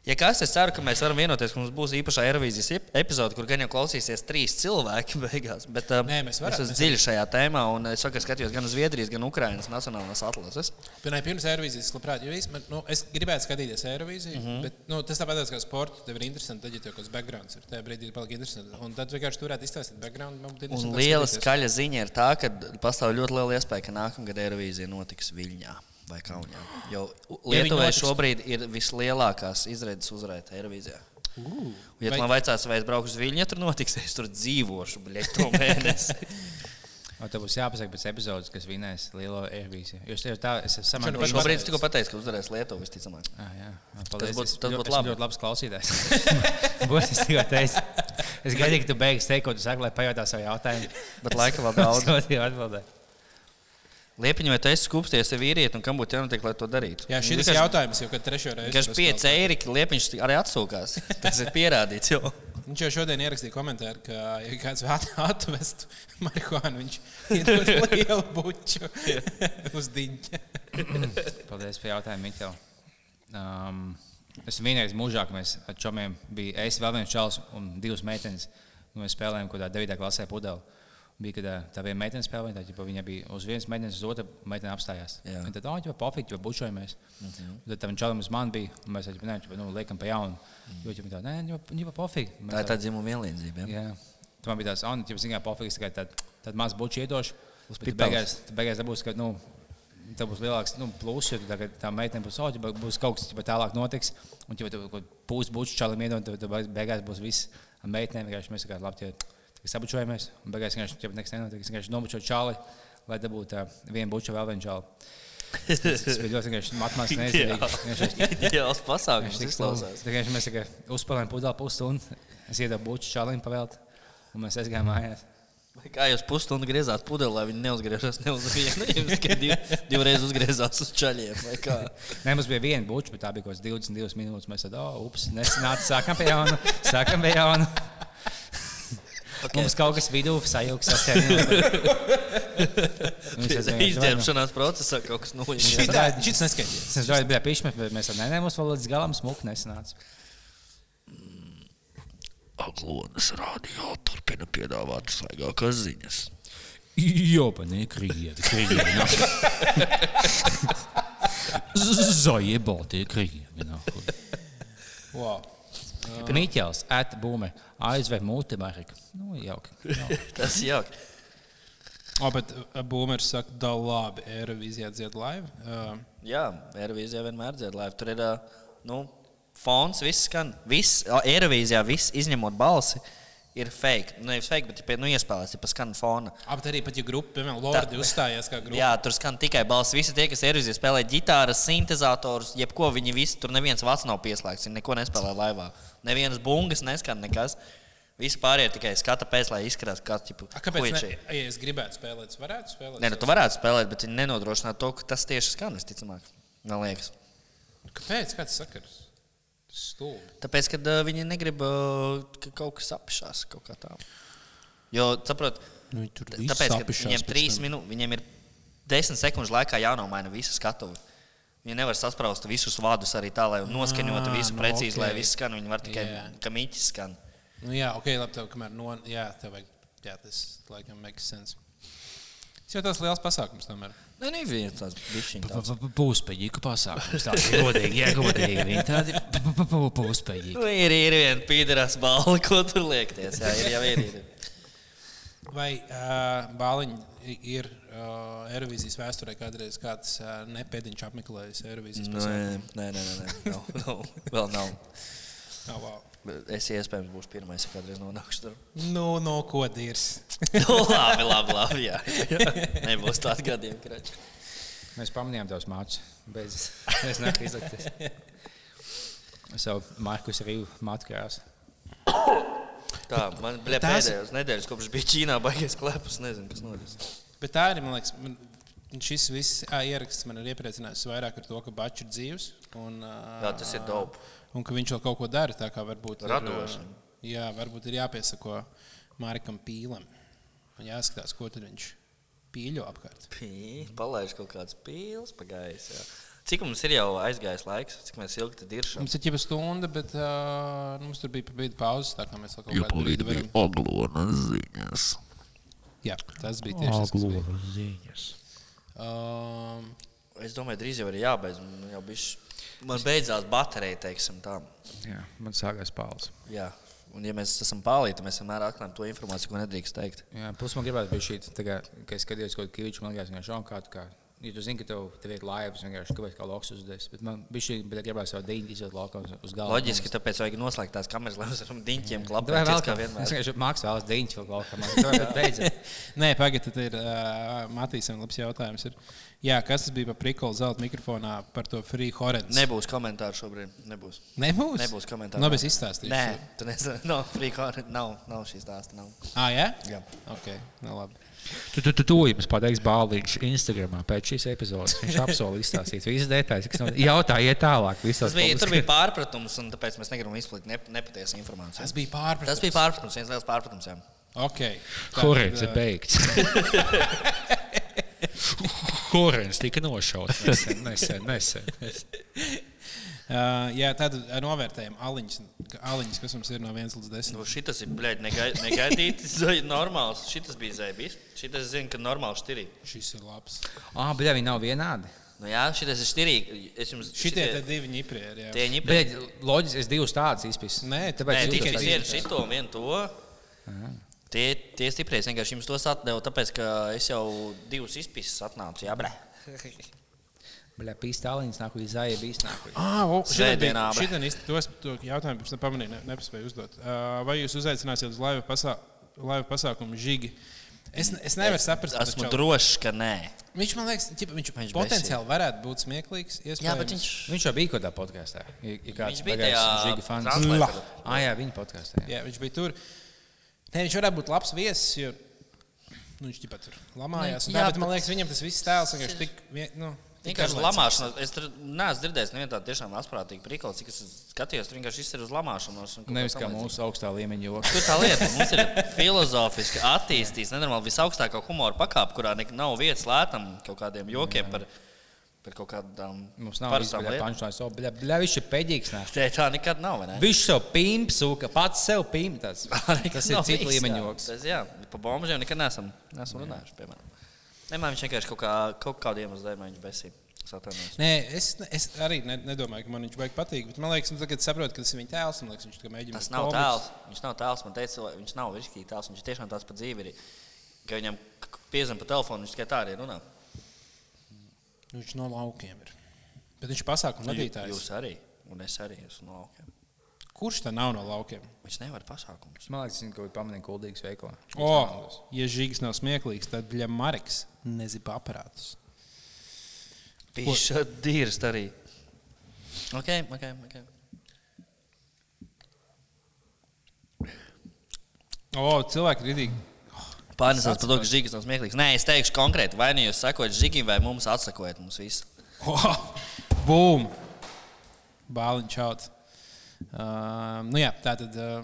B: ja kas, es ceru, ka mēs varam vienoties, ka mums būs īpašā aerovīzijas ep- epizode, kur gan jau klausīsies trīs cilvēki beigās. Bet, um,
A: Nē, mēs
B: es
A: varam,
B: esmu
A: mēs
B: dziļi šajā tēmā, un es vakar skatījos gan uz Zviedrijas, gan Ukrainas nacionālās atlases.
A: Pirmā pirms aerovīzijas, labprāt, jo es, man, nu, es gribētu skatīties aerovīziju,
B: Mhm.
A: mm -hmm. bet nu, tas tāpat tās kā sports, tev ir interesanti, tad, ja tev kaut kāds backgrounds ir, tajā brīdī paliek interesanti. Un tad vienkārši turētu izstāstīt background, man būtu
B: Un
A: interesanti.
B: liela skaļa ziņa ir tā, ka pastāv ļoti liela iespēja, ka nākamgad Eirovīzija notiks Viļņā vai Kaunijā. Jo
A: Ja viņi
B: Lietuvai
A: notiks-
B: šobrīd ir vislielākās izredzes uzvarēt Eirovīzijā.
A: Uh,
B: Un, Ja tu
A: vai-
B: man jautās, vai es braucu uz Viļņu, ja tur notiks, es tur dzīvošu, bļaut, to mēnesi.
C: Un tev būs jāpasaka pēc epizodes, kas vinēs lielo airvīziju. Jo es tev tā, es
A: Šodien
C: samanu.
A: pat-
B: Šobrīd es tikko pateicu, ka uzvarēs Lietuva visticamāk.
C: Ah, jā, Ah, paldies.
B: būtu-
C: Es
B: tas
C: ļo-
B: būtu
C: esmu
B: labi.
C: Ļoti labs klausītājs. būs es tikai teicu. Es gaidīju, ka tu beigas teikt, ko tu saki, lai pajautā savu jautājumu.
B: Bet laika vēl daudz.
C: Sūtīju atbildē.
B: Liepiņš, vai tu esi skupsties ar vīrieti, un kam būtu jānotiek, lai to darītu?
A: jā, šis ir
B: Vienkārši-
A: jautājums jau kad trešo reizi.
B: Vienkārši
A: tas
B: pieci eiri, ka liepiņš arī atsūkās. Tas ir pierādīts jau.
A: kaut- Viņš jau Nu, šodien ierakstīja komentāru, ka, ja kāds vēl atvestu marihuānu, viņš ir ļoti lielu buču uz diņa.
C: Paldies par jautājumu, Mikls. Um, es vienreiz mūžā, kad mēs ar čomiem bijām, es vēl viens čels un divas meitenes. un Mēs spēlējām kaut kādā 9. klasē pudeli. Bija, kad ā, tā viena meitene spēlēja, tad ģipa, viņa bija uz vienas meitenes, uz otru meiteni apstājās.
B: Jā. Mhm.
C: Viņa tad, ah, jau pofīgi, jau bučojamies. Tad tam čalam uz mani bija, un mēs viņam teicām, nu, liekam, pa jaunu. Jo viņa tā, nē, jau pofīgi. Mēs
B: Mhm. Tā ir tā dzimuma vienlīdzība. ja?
C: Jā. Tur man bija tāds, ah, nu, tā kā pofīgs, tikai tad, tad maz būtu iedošs. Uz
B: pitalas.
C: beigās, tad beigās būs, ka, nu, tā būs lielāks nu, pluss, jo tu tagad tā meitene būs, oh, ķipa, būs kaut kas, kas tālāk notiks. Un, ja tu kaut pūs būtu čalam iedod, tad tad beigās būs viss ar meitenēm. Vienkārši mēs sakām, labi, tie sabučojamies. Un beigās vienkārši ķipa, nekas nenotiek. Es vienkārši nobučoju čali, lai dabūtu ā, vienu buču vēl vienu čalu. Tas tas bija ļoti vienkārši matemātiski neizdevīgi.
B: Ideāls pasākums.
C: Viņš tik klausās. Tikai mēs tikai uzspēlējām pudeli pusstundu. Es iedodu buču čalim pavēlt, un mēs aizgājām mājās.
B: Vai Kā jūs pusstundu griezāt pudelē, lai viņi neuzgriežas ne uz vienu, jūs tikai div, divreiz uzgriezās uz čaļiem. vai kā?
C: Nē, mums bija viena buča, bet tā bija kaut kāds 22 minūtes. Mēs tad, oh, ups, nesanāca, sākam pie jauna, sākam pie jauna. Okay. Mums kaut kas vidū sajūgs. Viņš
B: Izģērbšanās procesā kaut kas nulles.
A: Šitā- Šis neskaidrs.
C: bija pišķis, bet mēs tam nenēmām, vēl līdz galam smūgi nesanāca.
D: Aglonas radio turpina piedāvāt svaigākās ziņas.
C: Jo, pa nekrīt, krīt. Zaļbaltie krievi. nahuj.
A: Wow.
C: Mīķels, atbūme, ASV multimarika. Nu, jauki. jauki.
B: Tas ir jauki.
A: O, bet uh, Boomers saka, da labi, Eirovizijā dzied live. Uh,
B: Jā, Eirovīzijā vienmēr dzied laivu. Tur ir ā, nu, fons, viss skan. Viss, ā, Eirovīzijā viss izņemot balsi ir fake. Nu, nevis fake, bet ir pie- nu, iespēlēts, ja paskana fona.
A: ā, bet arī pat, ja grupa, piemēram, Lordi uzstājās kā grupa.
B: Jā, tur skan tikai balss. Visi tie, kas Eirovīzijā spēlē ģitāras, sintēzatorus, jebko viņi visi tur neviens vats nav pieslēgts, viņi neko nespēlē laivā. Nevienas bungas neskan nekas. Visi pārējie tikai skata pēc, lai izskatās, kāds ir
A: A, kāpēc? Ne, ja es gribētu spēlēt, es varētu spēlēt.
B: Nē, nu, tu varētu spēlēt, bet viņi nenodrošina to, ka tas tieši skan visticamāk. Man liekas.
A: Kāpēc? Kāds sakars? Stulbi.
B: Tāpēc, ka uh, viņi negrib, uh, ka kaut kas apšās kaut kā tā. Jo, saprotiet,
A: Nu, viņi tur viss
B: tāpēc, ka
A: apšās
B: viņiem
A: pēc
B: trīs
A: tam.
B: minūtes, viņiem ir desmit sekundžu laikā jānomaina visu skatuvi. Viņi nevar sasprāst visus vārdus arī tā, lai noskaņotu
A: Ā,
B: visu
A: nu,
B: precīzi, lai
A: ok.
B: viss skan. Viņi var tikai,
A: Jā.
B: ka mītis skan.
A: Nu, jā, ok, labi. Tev, kamēr no, jā, tev vajag. Jā, tas laikam makes sense. Tas jau tāds liels pasākums tomēr.
B: Nē, nē, viens tāds bišķiņš.
C: B- b- Būspējīgu pasākumu. Tā ir godīgi, iegodīgi. Viņi tādi b- b- b- būspējīgi.
B: Nu, Ir, ir viena pīderas balva, ko tur liekties. Jā, ir jau ir. ir.
A: Vai uh, Bāliņš ir uh, Eirovisijas vēsturē kādreiz kāds uh, nepēdiņš apmeklējis Eirovisijas
B: Nu, Nē,
A: pasākumu?
B: nē, nē, nē, nē. Nav, nav, vēl nav.
A: No, oh, wow.
B: Bet Es iespējams būšu pirmais, ja kādreiz nonākšu tur.
A: nu, no ko dirs?
B: Nu, labi, labi, labi. Jā. Nebūs tāds gadījums, kad
C: Mēs pamanījām tos mācus. Bez es nevaru izlikties. Savu Markus Rīvu matkājās.
B: tā man bija
A: Tās-
B: pēdējās nedēļas, kopš bija Ķīnā, baigies klēpus. Nezinu, kas notiks.
A: Bet tā arī, man liekas, man, šis viss ā, ieraksts man ir iepriecinājis vairāk ar to, ka Bačs ir dzīves. Un, ā,
B: Jā, tas ir dope.
A: Un ka viņš vēl kaut ko dara. tā kā varbūt ir,
B: Radoši.
A: ā, Jā, varbūt ir jāpiesako Mārikam Pīlam. Un jāskatās, ko tad viņš pīļo apkārt.
B: Pī, Palaiž kaut kāds pīls pagājis. Jā. Cik mums ir jau aizgājis laiks, cik mēs ilgi tur diršam?
A: Mums ir jau stunda, bet uh, mums tur bija pa brīdi pauzes. Tā kā mēs vēl kaut
D: Jo
A: kādā
D: palīdz
A: brīdī
D: bija
A: varam.
D: aglonas ziņas.
A: Jā, tas bija tieši tas, kas bija. Um,
B: Es domāju, drīz jau ir jābeidz. Man jau bišķi... man beidzās baterija, teiksim tā.
C: Jā, man sākās pāles.
B: Jā. Un, ja mēs esam pāri, tad mēs vienmēr atklājam to informāciju, ko nedrīkst teikt.
C: Jā, plus man gribētu būt šī tā, kā, ka es skatījos kaut kādu īņķu, man liekas, vienkārši šādi kā. kā Ja tu zini, ka tev, tev ir laivas, vienkārši kāpēc kā loks uzdevis. Bet man bija šī griba, gribēja savu dīņu iziet laukā uz- uz galvu.
B: Loģiski, tāpēc vajag noslēgt tās kameras, lai mēs varam diņķiem
C: Tā
B: klapēt,
C: vēl
B: kā vienmēr.
C: Mākslā vēl dīņš vēl laukā. Man liekas, tā beidzas.
A: Nē, pagaidiet, ir uh, Matīsam labs jautājums. Ir. Jā, kas tas bija par prikolu zelta mikrofonā par to free horrors?
B: Nebūs komentāru šobrīd. Nebūs.
A: nebūs.
B: Nebūs komentāru.
A: Nav bez izstāstījuma.
B: Nē, tu nezini. No, frīkāri, nav, nav šīs stāsta. Nav.
A: Ah, jā?
B: Jā.
A: Ok, nu labi.
C: Tu, tu, tu, tu jums pateiks Bāliņš Instagramā pēc šīs epizodes. Viņš apsolīja izstāstīt visas detaļas, kas nav. Jautājiet tālāk.
B: Tas bija, tur bija pārpratums, un tāpēc mēs negribam izplatīt nep nepatiesu informāciju.
A: Tas bija pārpratums.
B: Tas bija pārpratums, viens liels pārpratums. Jā.
A: Okay. Tātad,
C: Horens ir
A: ā,
C: beigts. Horens tika nošauts nesen, nesen, nesen. nesen.
A: ā, Jā, tad novērtējam aliņus, ka- aliņus, kas mums ir no 1 līdz 10.
B: Nu, šitas ir blēdi, negai, negaidīts, normāls. Šitas bija zēbis. Šitas zina, ka normāls štirī.
A: Šis ir labs.
C: Ah, bet viņi nav vienādi.
B: Nu, jā, šitas ir štirī. Es jums
A: Šitie te divi ņipri ir. Jā.
B: Tie ņipri.
C: Bet loģiski es divus tādus izpēju.
A: Nē,
B: Nē,
C: tāpēc
A: jūtos
B: tikai
A: tā
B: vienu
A: izskatās.
B: šito un vienu to. Tie, tie stiprie, es vienkārši jums tos atdevu, tāpēc, ka es jau divus izpisus atnācu. Jā, brē.
C: Bļa, pīstāliņas nāk, izaija bijis nāk.
A: Ah, o, šodien bija-
B: Svētdienā, bre.
A: šodien īsti tos to jautājumu pirms tam pamanīju, ne- nepaspēju uzdot. Uh, Vai jūs uzaicināsiet uz laiva, pasā, laiva pasākumu žigi? Es, ne- es nevaru saprast, kas
B: Esmu drošs, ka nē.
A: Viņš man liekas, ķip, viņš, viņš
B: Viņš
A: potenciāli varētu būt smieklīgs.
B: Jā,
A: iespējams.
B: bet viņš.
C: Viņš jau bija kaut kādā podkāstā. Ja ja kāds
B: Viņš bija
C: bija
B: tajā
C: Žiga fans.
B: Translatorā.
C: Ah, jā, viņa podkāstā.
A: Jā, viņš bija tur. Nē, viņš varētu būt labs viesis, jo nu, viņš pat tur lamājās.
B: Nu,
A: Jā,
B: jā,
A: bet, man
B: bet-
A: liekas, viņam tas viss tēls vienkārši tik. vien- Nu, tik
B: Vienkārši
A: garlaicīgs.
B: lamāšanās. Es tur neesmu dzirdējis, nevienu tādu tiešām asprātīgu prikolu, cik es skatījos. Tur vienkārši viss ir uz lamāšanos. un kaut
C: Nevis
B: kā
C: kā
B: tam līdzīgi.
C: mūsu augstā līmeņa joks.
B: Tur tā lieta mums ir filozofiski attīstīta. Nenormāli visaugstākā humora pakāpe, kurā nek- nav vietas lētam kaut kādiem jokiem par, par kaut kādām
C: Mums nav īstenībā pančlājas. O, bļa, bļa, viņš ir pēdīgs. nāk.
B: Tā, tā nekad nav. vai ne?
C: Viņš sev pīns, sūka pats sev pīns. Tas,
B: Nekad
C: tas ir
B: nav
C: cits
B: bijis,
C: līmeņa
B: jā.
C: joks.
B: Tas, jā, par bombžiem nekad neesam, neesam runājuši. Piemēram. Nē, man viņš vienkārši kaut, kā, kaut kādiem uzdevumiem viņš besīja. Satanies.
A: Nē, es, es arī ne, nedomāju, ka man viņš baigi patīk. Bet man liekas, nu, tagad saprotu, ka tas ir viņa tēls. Man liekas, viņš tikai mēģina.
B: Tas
A: būt
B: nav
A: komiks.
B: tēls. Viņš nav tēls. Man teica, cilvē- viņš nav virsīgi tēls. Viņš tiešām tāds pa dzīvi ir. Ka viņam piezvanīja pa telefonu, viņš tikai tā arī runā.
A: Nu, Viņš no laukiem ir. Bet viņš ir pasākuma vadītājs.
B: Jūs arī. Un es arī esmu no laukiem.
A: Kurš tā nav no laukiem?
B: Viņš nevar pasākumus.
F: Man liekas, viņš kaut kādā pamanīja kuldīgas veikalā.
A: O, ja žīgs nav smieklīgs, tad Lemārs nezina aparātus.
B: Pīša dīrst arī. Ok, ok, ok.
A: O, cilvēki ir rītīgi.
B: Pārnesās par to, ka žīgas nav smieklīgs. Nē, es teikšu konkrēti, vai nu jūs sakojat žigim, vai mums atsakojat mums visu.
A: Bum! Bāliņš šaut. Uh, nu jā, tā tad. Uh,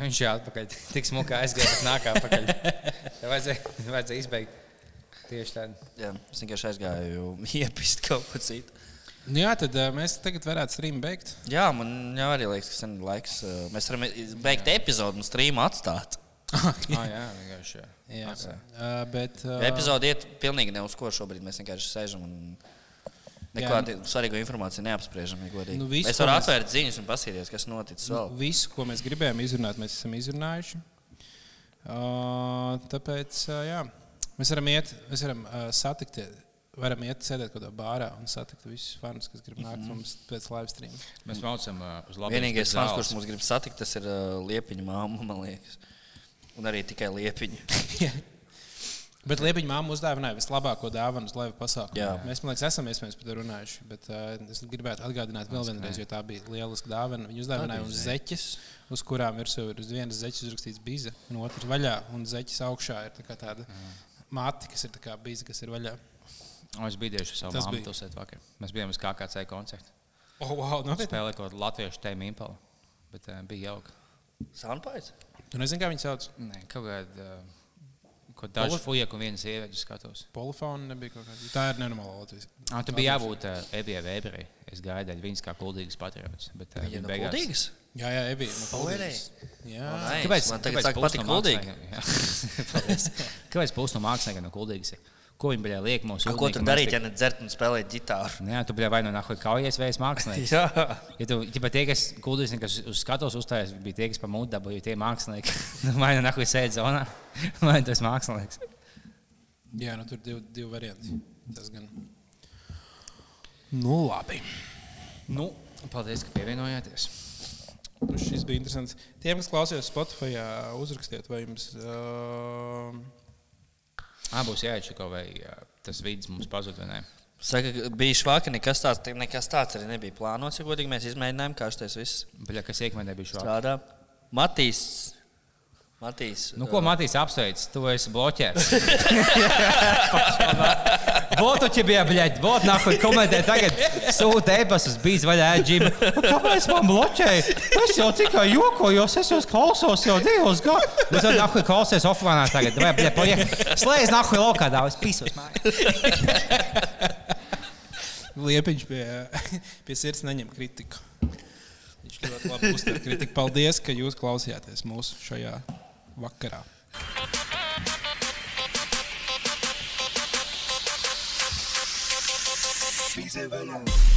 F: Viņš jau atpakaļ tik smuki aizgāja, ka nākā atpakaļ. Tev vajadzēja, vajadzēja izbeigt tieši tādu.
B: Jā, es vienkārši aizgāju iepist kaut ko citu.
A: nu jā, tad uh, mēs tagad varētu streamu beigt.
B: Jā, man jau arī liekas, ka sen ir laiks. uh, Mēs varam i- beigt epizodu un streamu atstāt.
F: Ah, jā, vienkārši. jā.
A: jā, uh, bet. Uh,
B: Epizode iet pilnīgi ne uz ko šobrīd. Mēs vienkārši sēžam un nekādu svarīgu informāciju neapspriežam. Ja godīgi.
A: Nu, visu,
B: es
A: ko
B: varu
A: mēs-
B: atvērt ziņas un paskatīties, kas noticis vēl.
A: Visu, ko mēs gribējām izrunāt, mēs esam izrunājuši. Uh, tāpēc uh, jā, mēs varam iet, mēs varam uh, satikt, varam iet sēdēt kaut kādā bārā un satikt visus fanus, kas grib nākt mums pēc live stream.
F: Mēs braucam uh, uz labu
B: Vienīgais fans, kurš mums grib satikt, tas ir uh, liepiņa māma, man liekas. Un arī tikai liepiņa.
A: Bet Liepiņa māma uzdāvināja vislabāko dāvanu uz laiva pasākumu.
B: Jā.
A: Mēs, man liekas, esam iespējams par to runājuši. Bet uh, es gribētu atgādināt vēl vienreiz, jo tā bija lieliska dāvana. Viņa uzdāvināja mums zeķes, uz kurām ir sev uz vienas zeķes uzrakstīts bīza, un otrs vaļā. Un zeķes augšā ir tā kā tāda māte, kas ir tā kā bīza, kas ir vaļā.
F: Es biju tieši uz savu
A: Tas
F: māmu
A: bija.
F: tusēt vakar. Mēs bijām uz KKC koncertu.
A: Oh, wow,
B: nu.
A: nopietni.
F: Spēlēja kaut kādu latviešu tēmu impalu. Bet uh, bija jauki.
B: Sanpais?
A: Tu nezini, kā viņas sauc?
F: Nē, kaut kāda. Uh, Ko dažu fujeku un vienas sievietes skatos.
A: Polifona nebija kaut kāda. Tā ir nenormāla Latvijas.
F: Ah, tu biji jābūt uh, Ebijai Vēberei. Es gāju daļai viņas kā kuldīgas patriotas. bet,
B: Viņa
F: uh, viņa
B: ir
F: beigās-
B: gudīgas.
A: Jā, jā, Ebija. no Kuldīgas. Jā,
B: Kāpēc? Man tagad sāk
F: pulsa
B: patikt gudīgi.
F: mākslinieki? Jā. Paldies. Kāpēc pūst no mākslinieka no kuldīgas? ir? Ko viņi bija liek mums?
B: Nu, Ko tur darīt, ja ne dzert un spēlēt ģitāru?
F: Nē, tu biji vai nu nahuļ kaujies, vai esi mākslinieks.
B: Jā.
F: Ja tu ja pat tie, kas gudrīs, kas uz skatuves uzstājās, bija tie, kas pa mūdu dabūja, tie mākslinieki. Nu, Vai nu nahuļ sēž zonā, vai nu tas mākslinieks.
A: jā nu, tur divi, divi varianti. Tas gan. Nu, labi.
F: Nu, paldies, ka pievienojāties.
A: Nu, šis bija interesants. Tiem, kas klausījās Spotify, uzrakstiet, vai jums. Uh,
F: Abos jāiečiko, vai ā, tas vidus mums pazud vai nē.
B: Saka, ka bija švāka, nekas tāds, nekas tāds arī nebija plānots. Ja godīgi mēs izmēģinājām, kā šis viss
F: Bļa, kas iekmenē bija švāk.
B: strādā. Matīs. Matīs.
F: Nu, ko Matīs apsveic? Tu esi bloķēts. Vot tu bija, bļaļ, vot nākot komentē tagad sūta e-pastus, bijis vaļā ģimē. Kāpēc man bloķēja? Es jau tikai jokojos, es jau klausos jau divus gadus. Nu, tad nākot klausies offline tagad. Vai, bļaļ, paliek. Slēdz nākot laukā, dāvis, pīsos.
A: Liepiņš pie, pie sirds neņem kritiku. Viņš ļoti labi uztver kritiku. Paldies, ka jūs klausījāties mūsu šajā vakarā.
G: Bīze vaļā.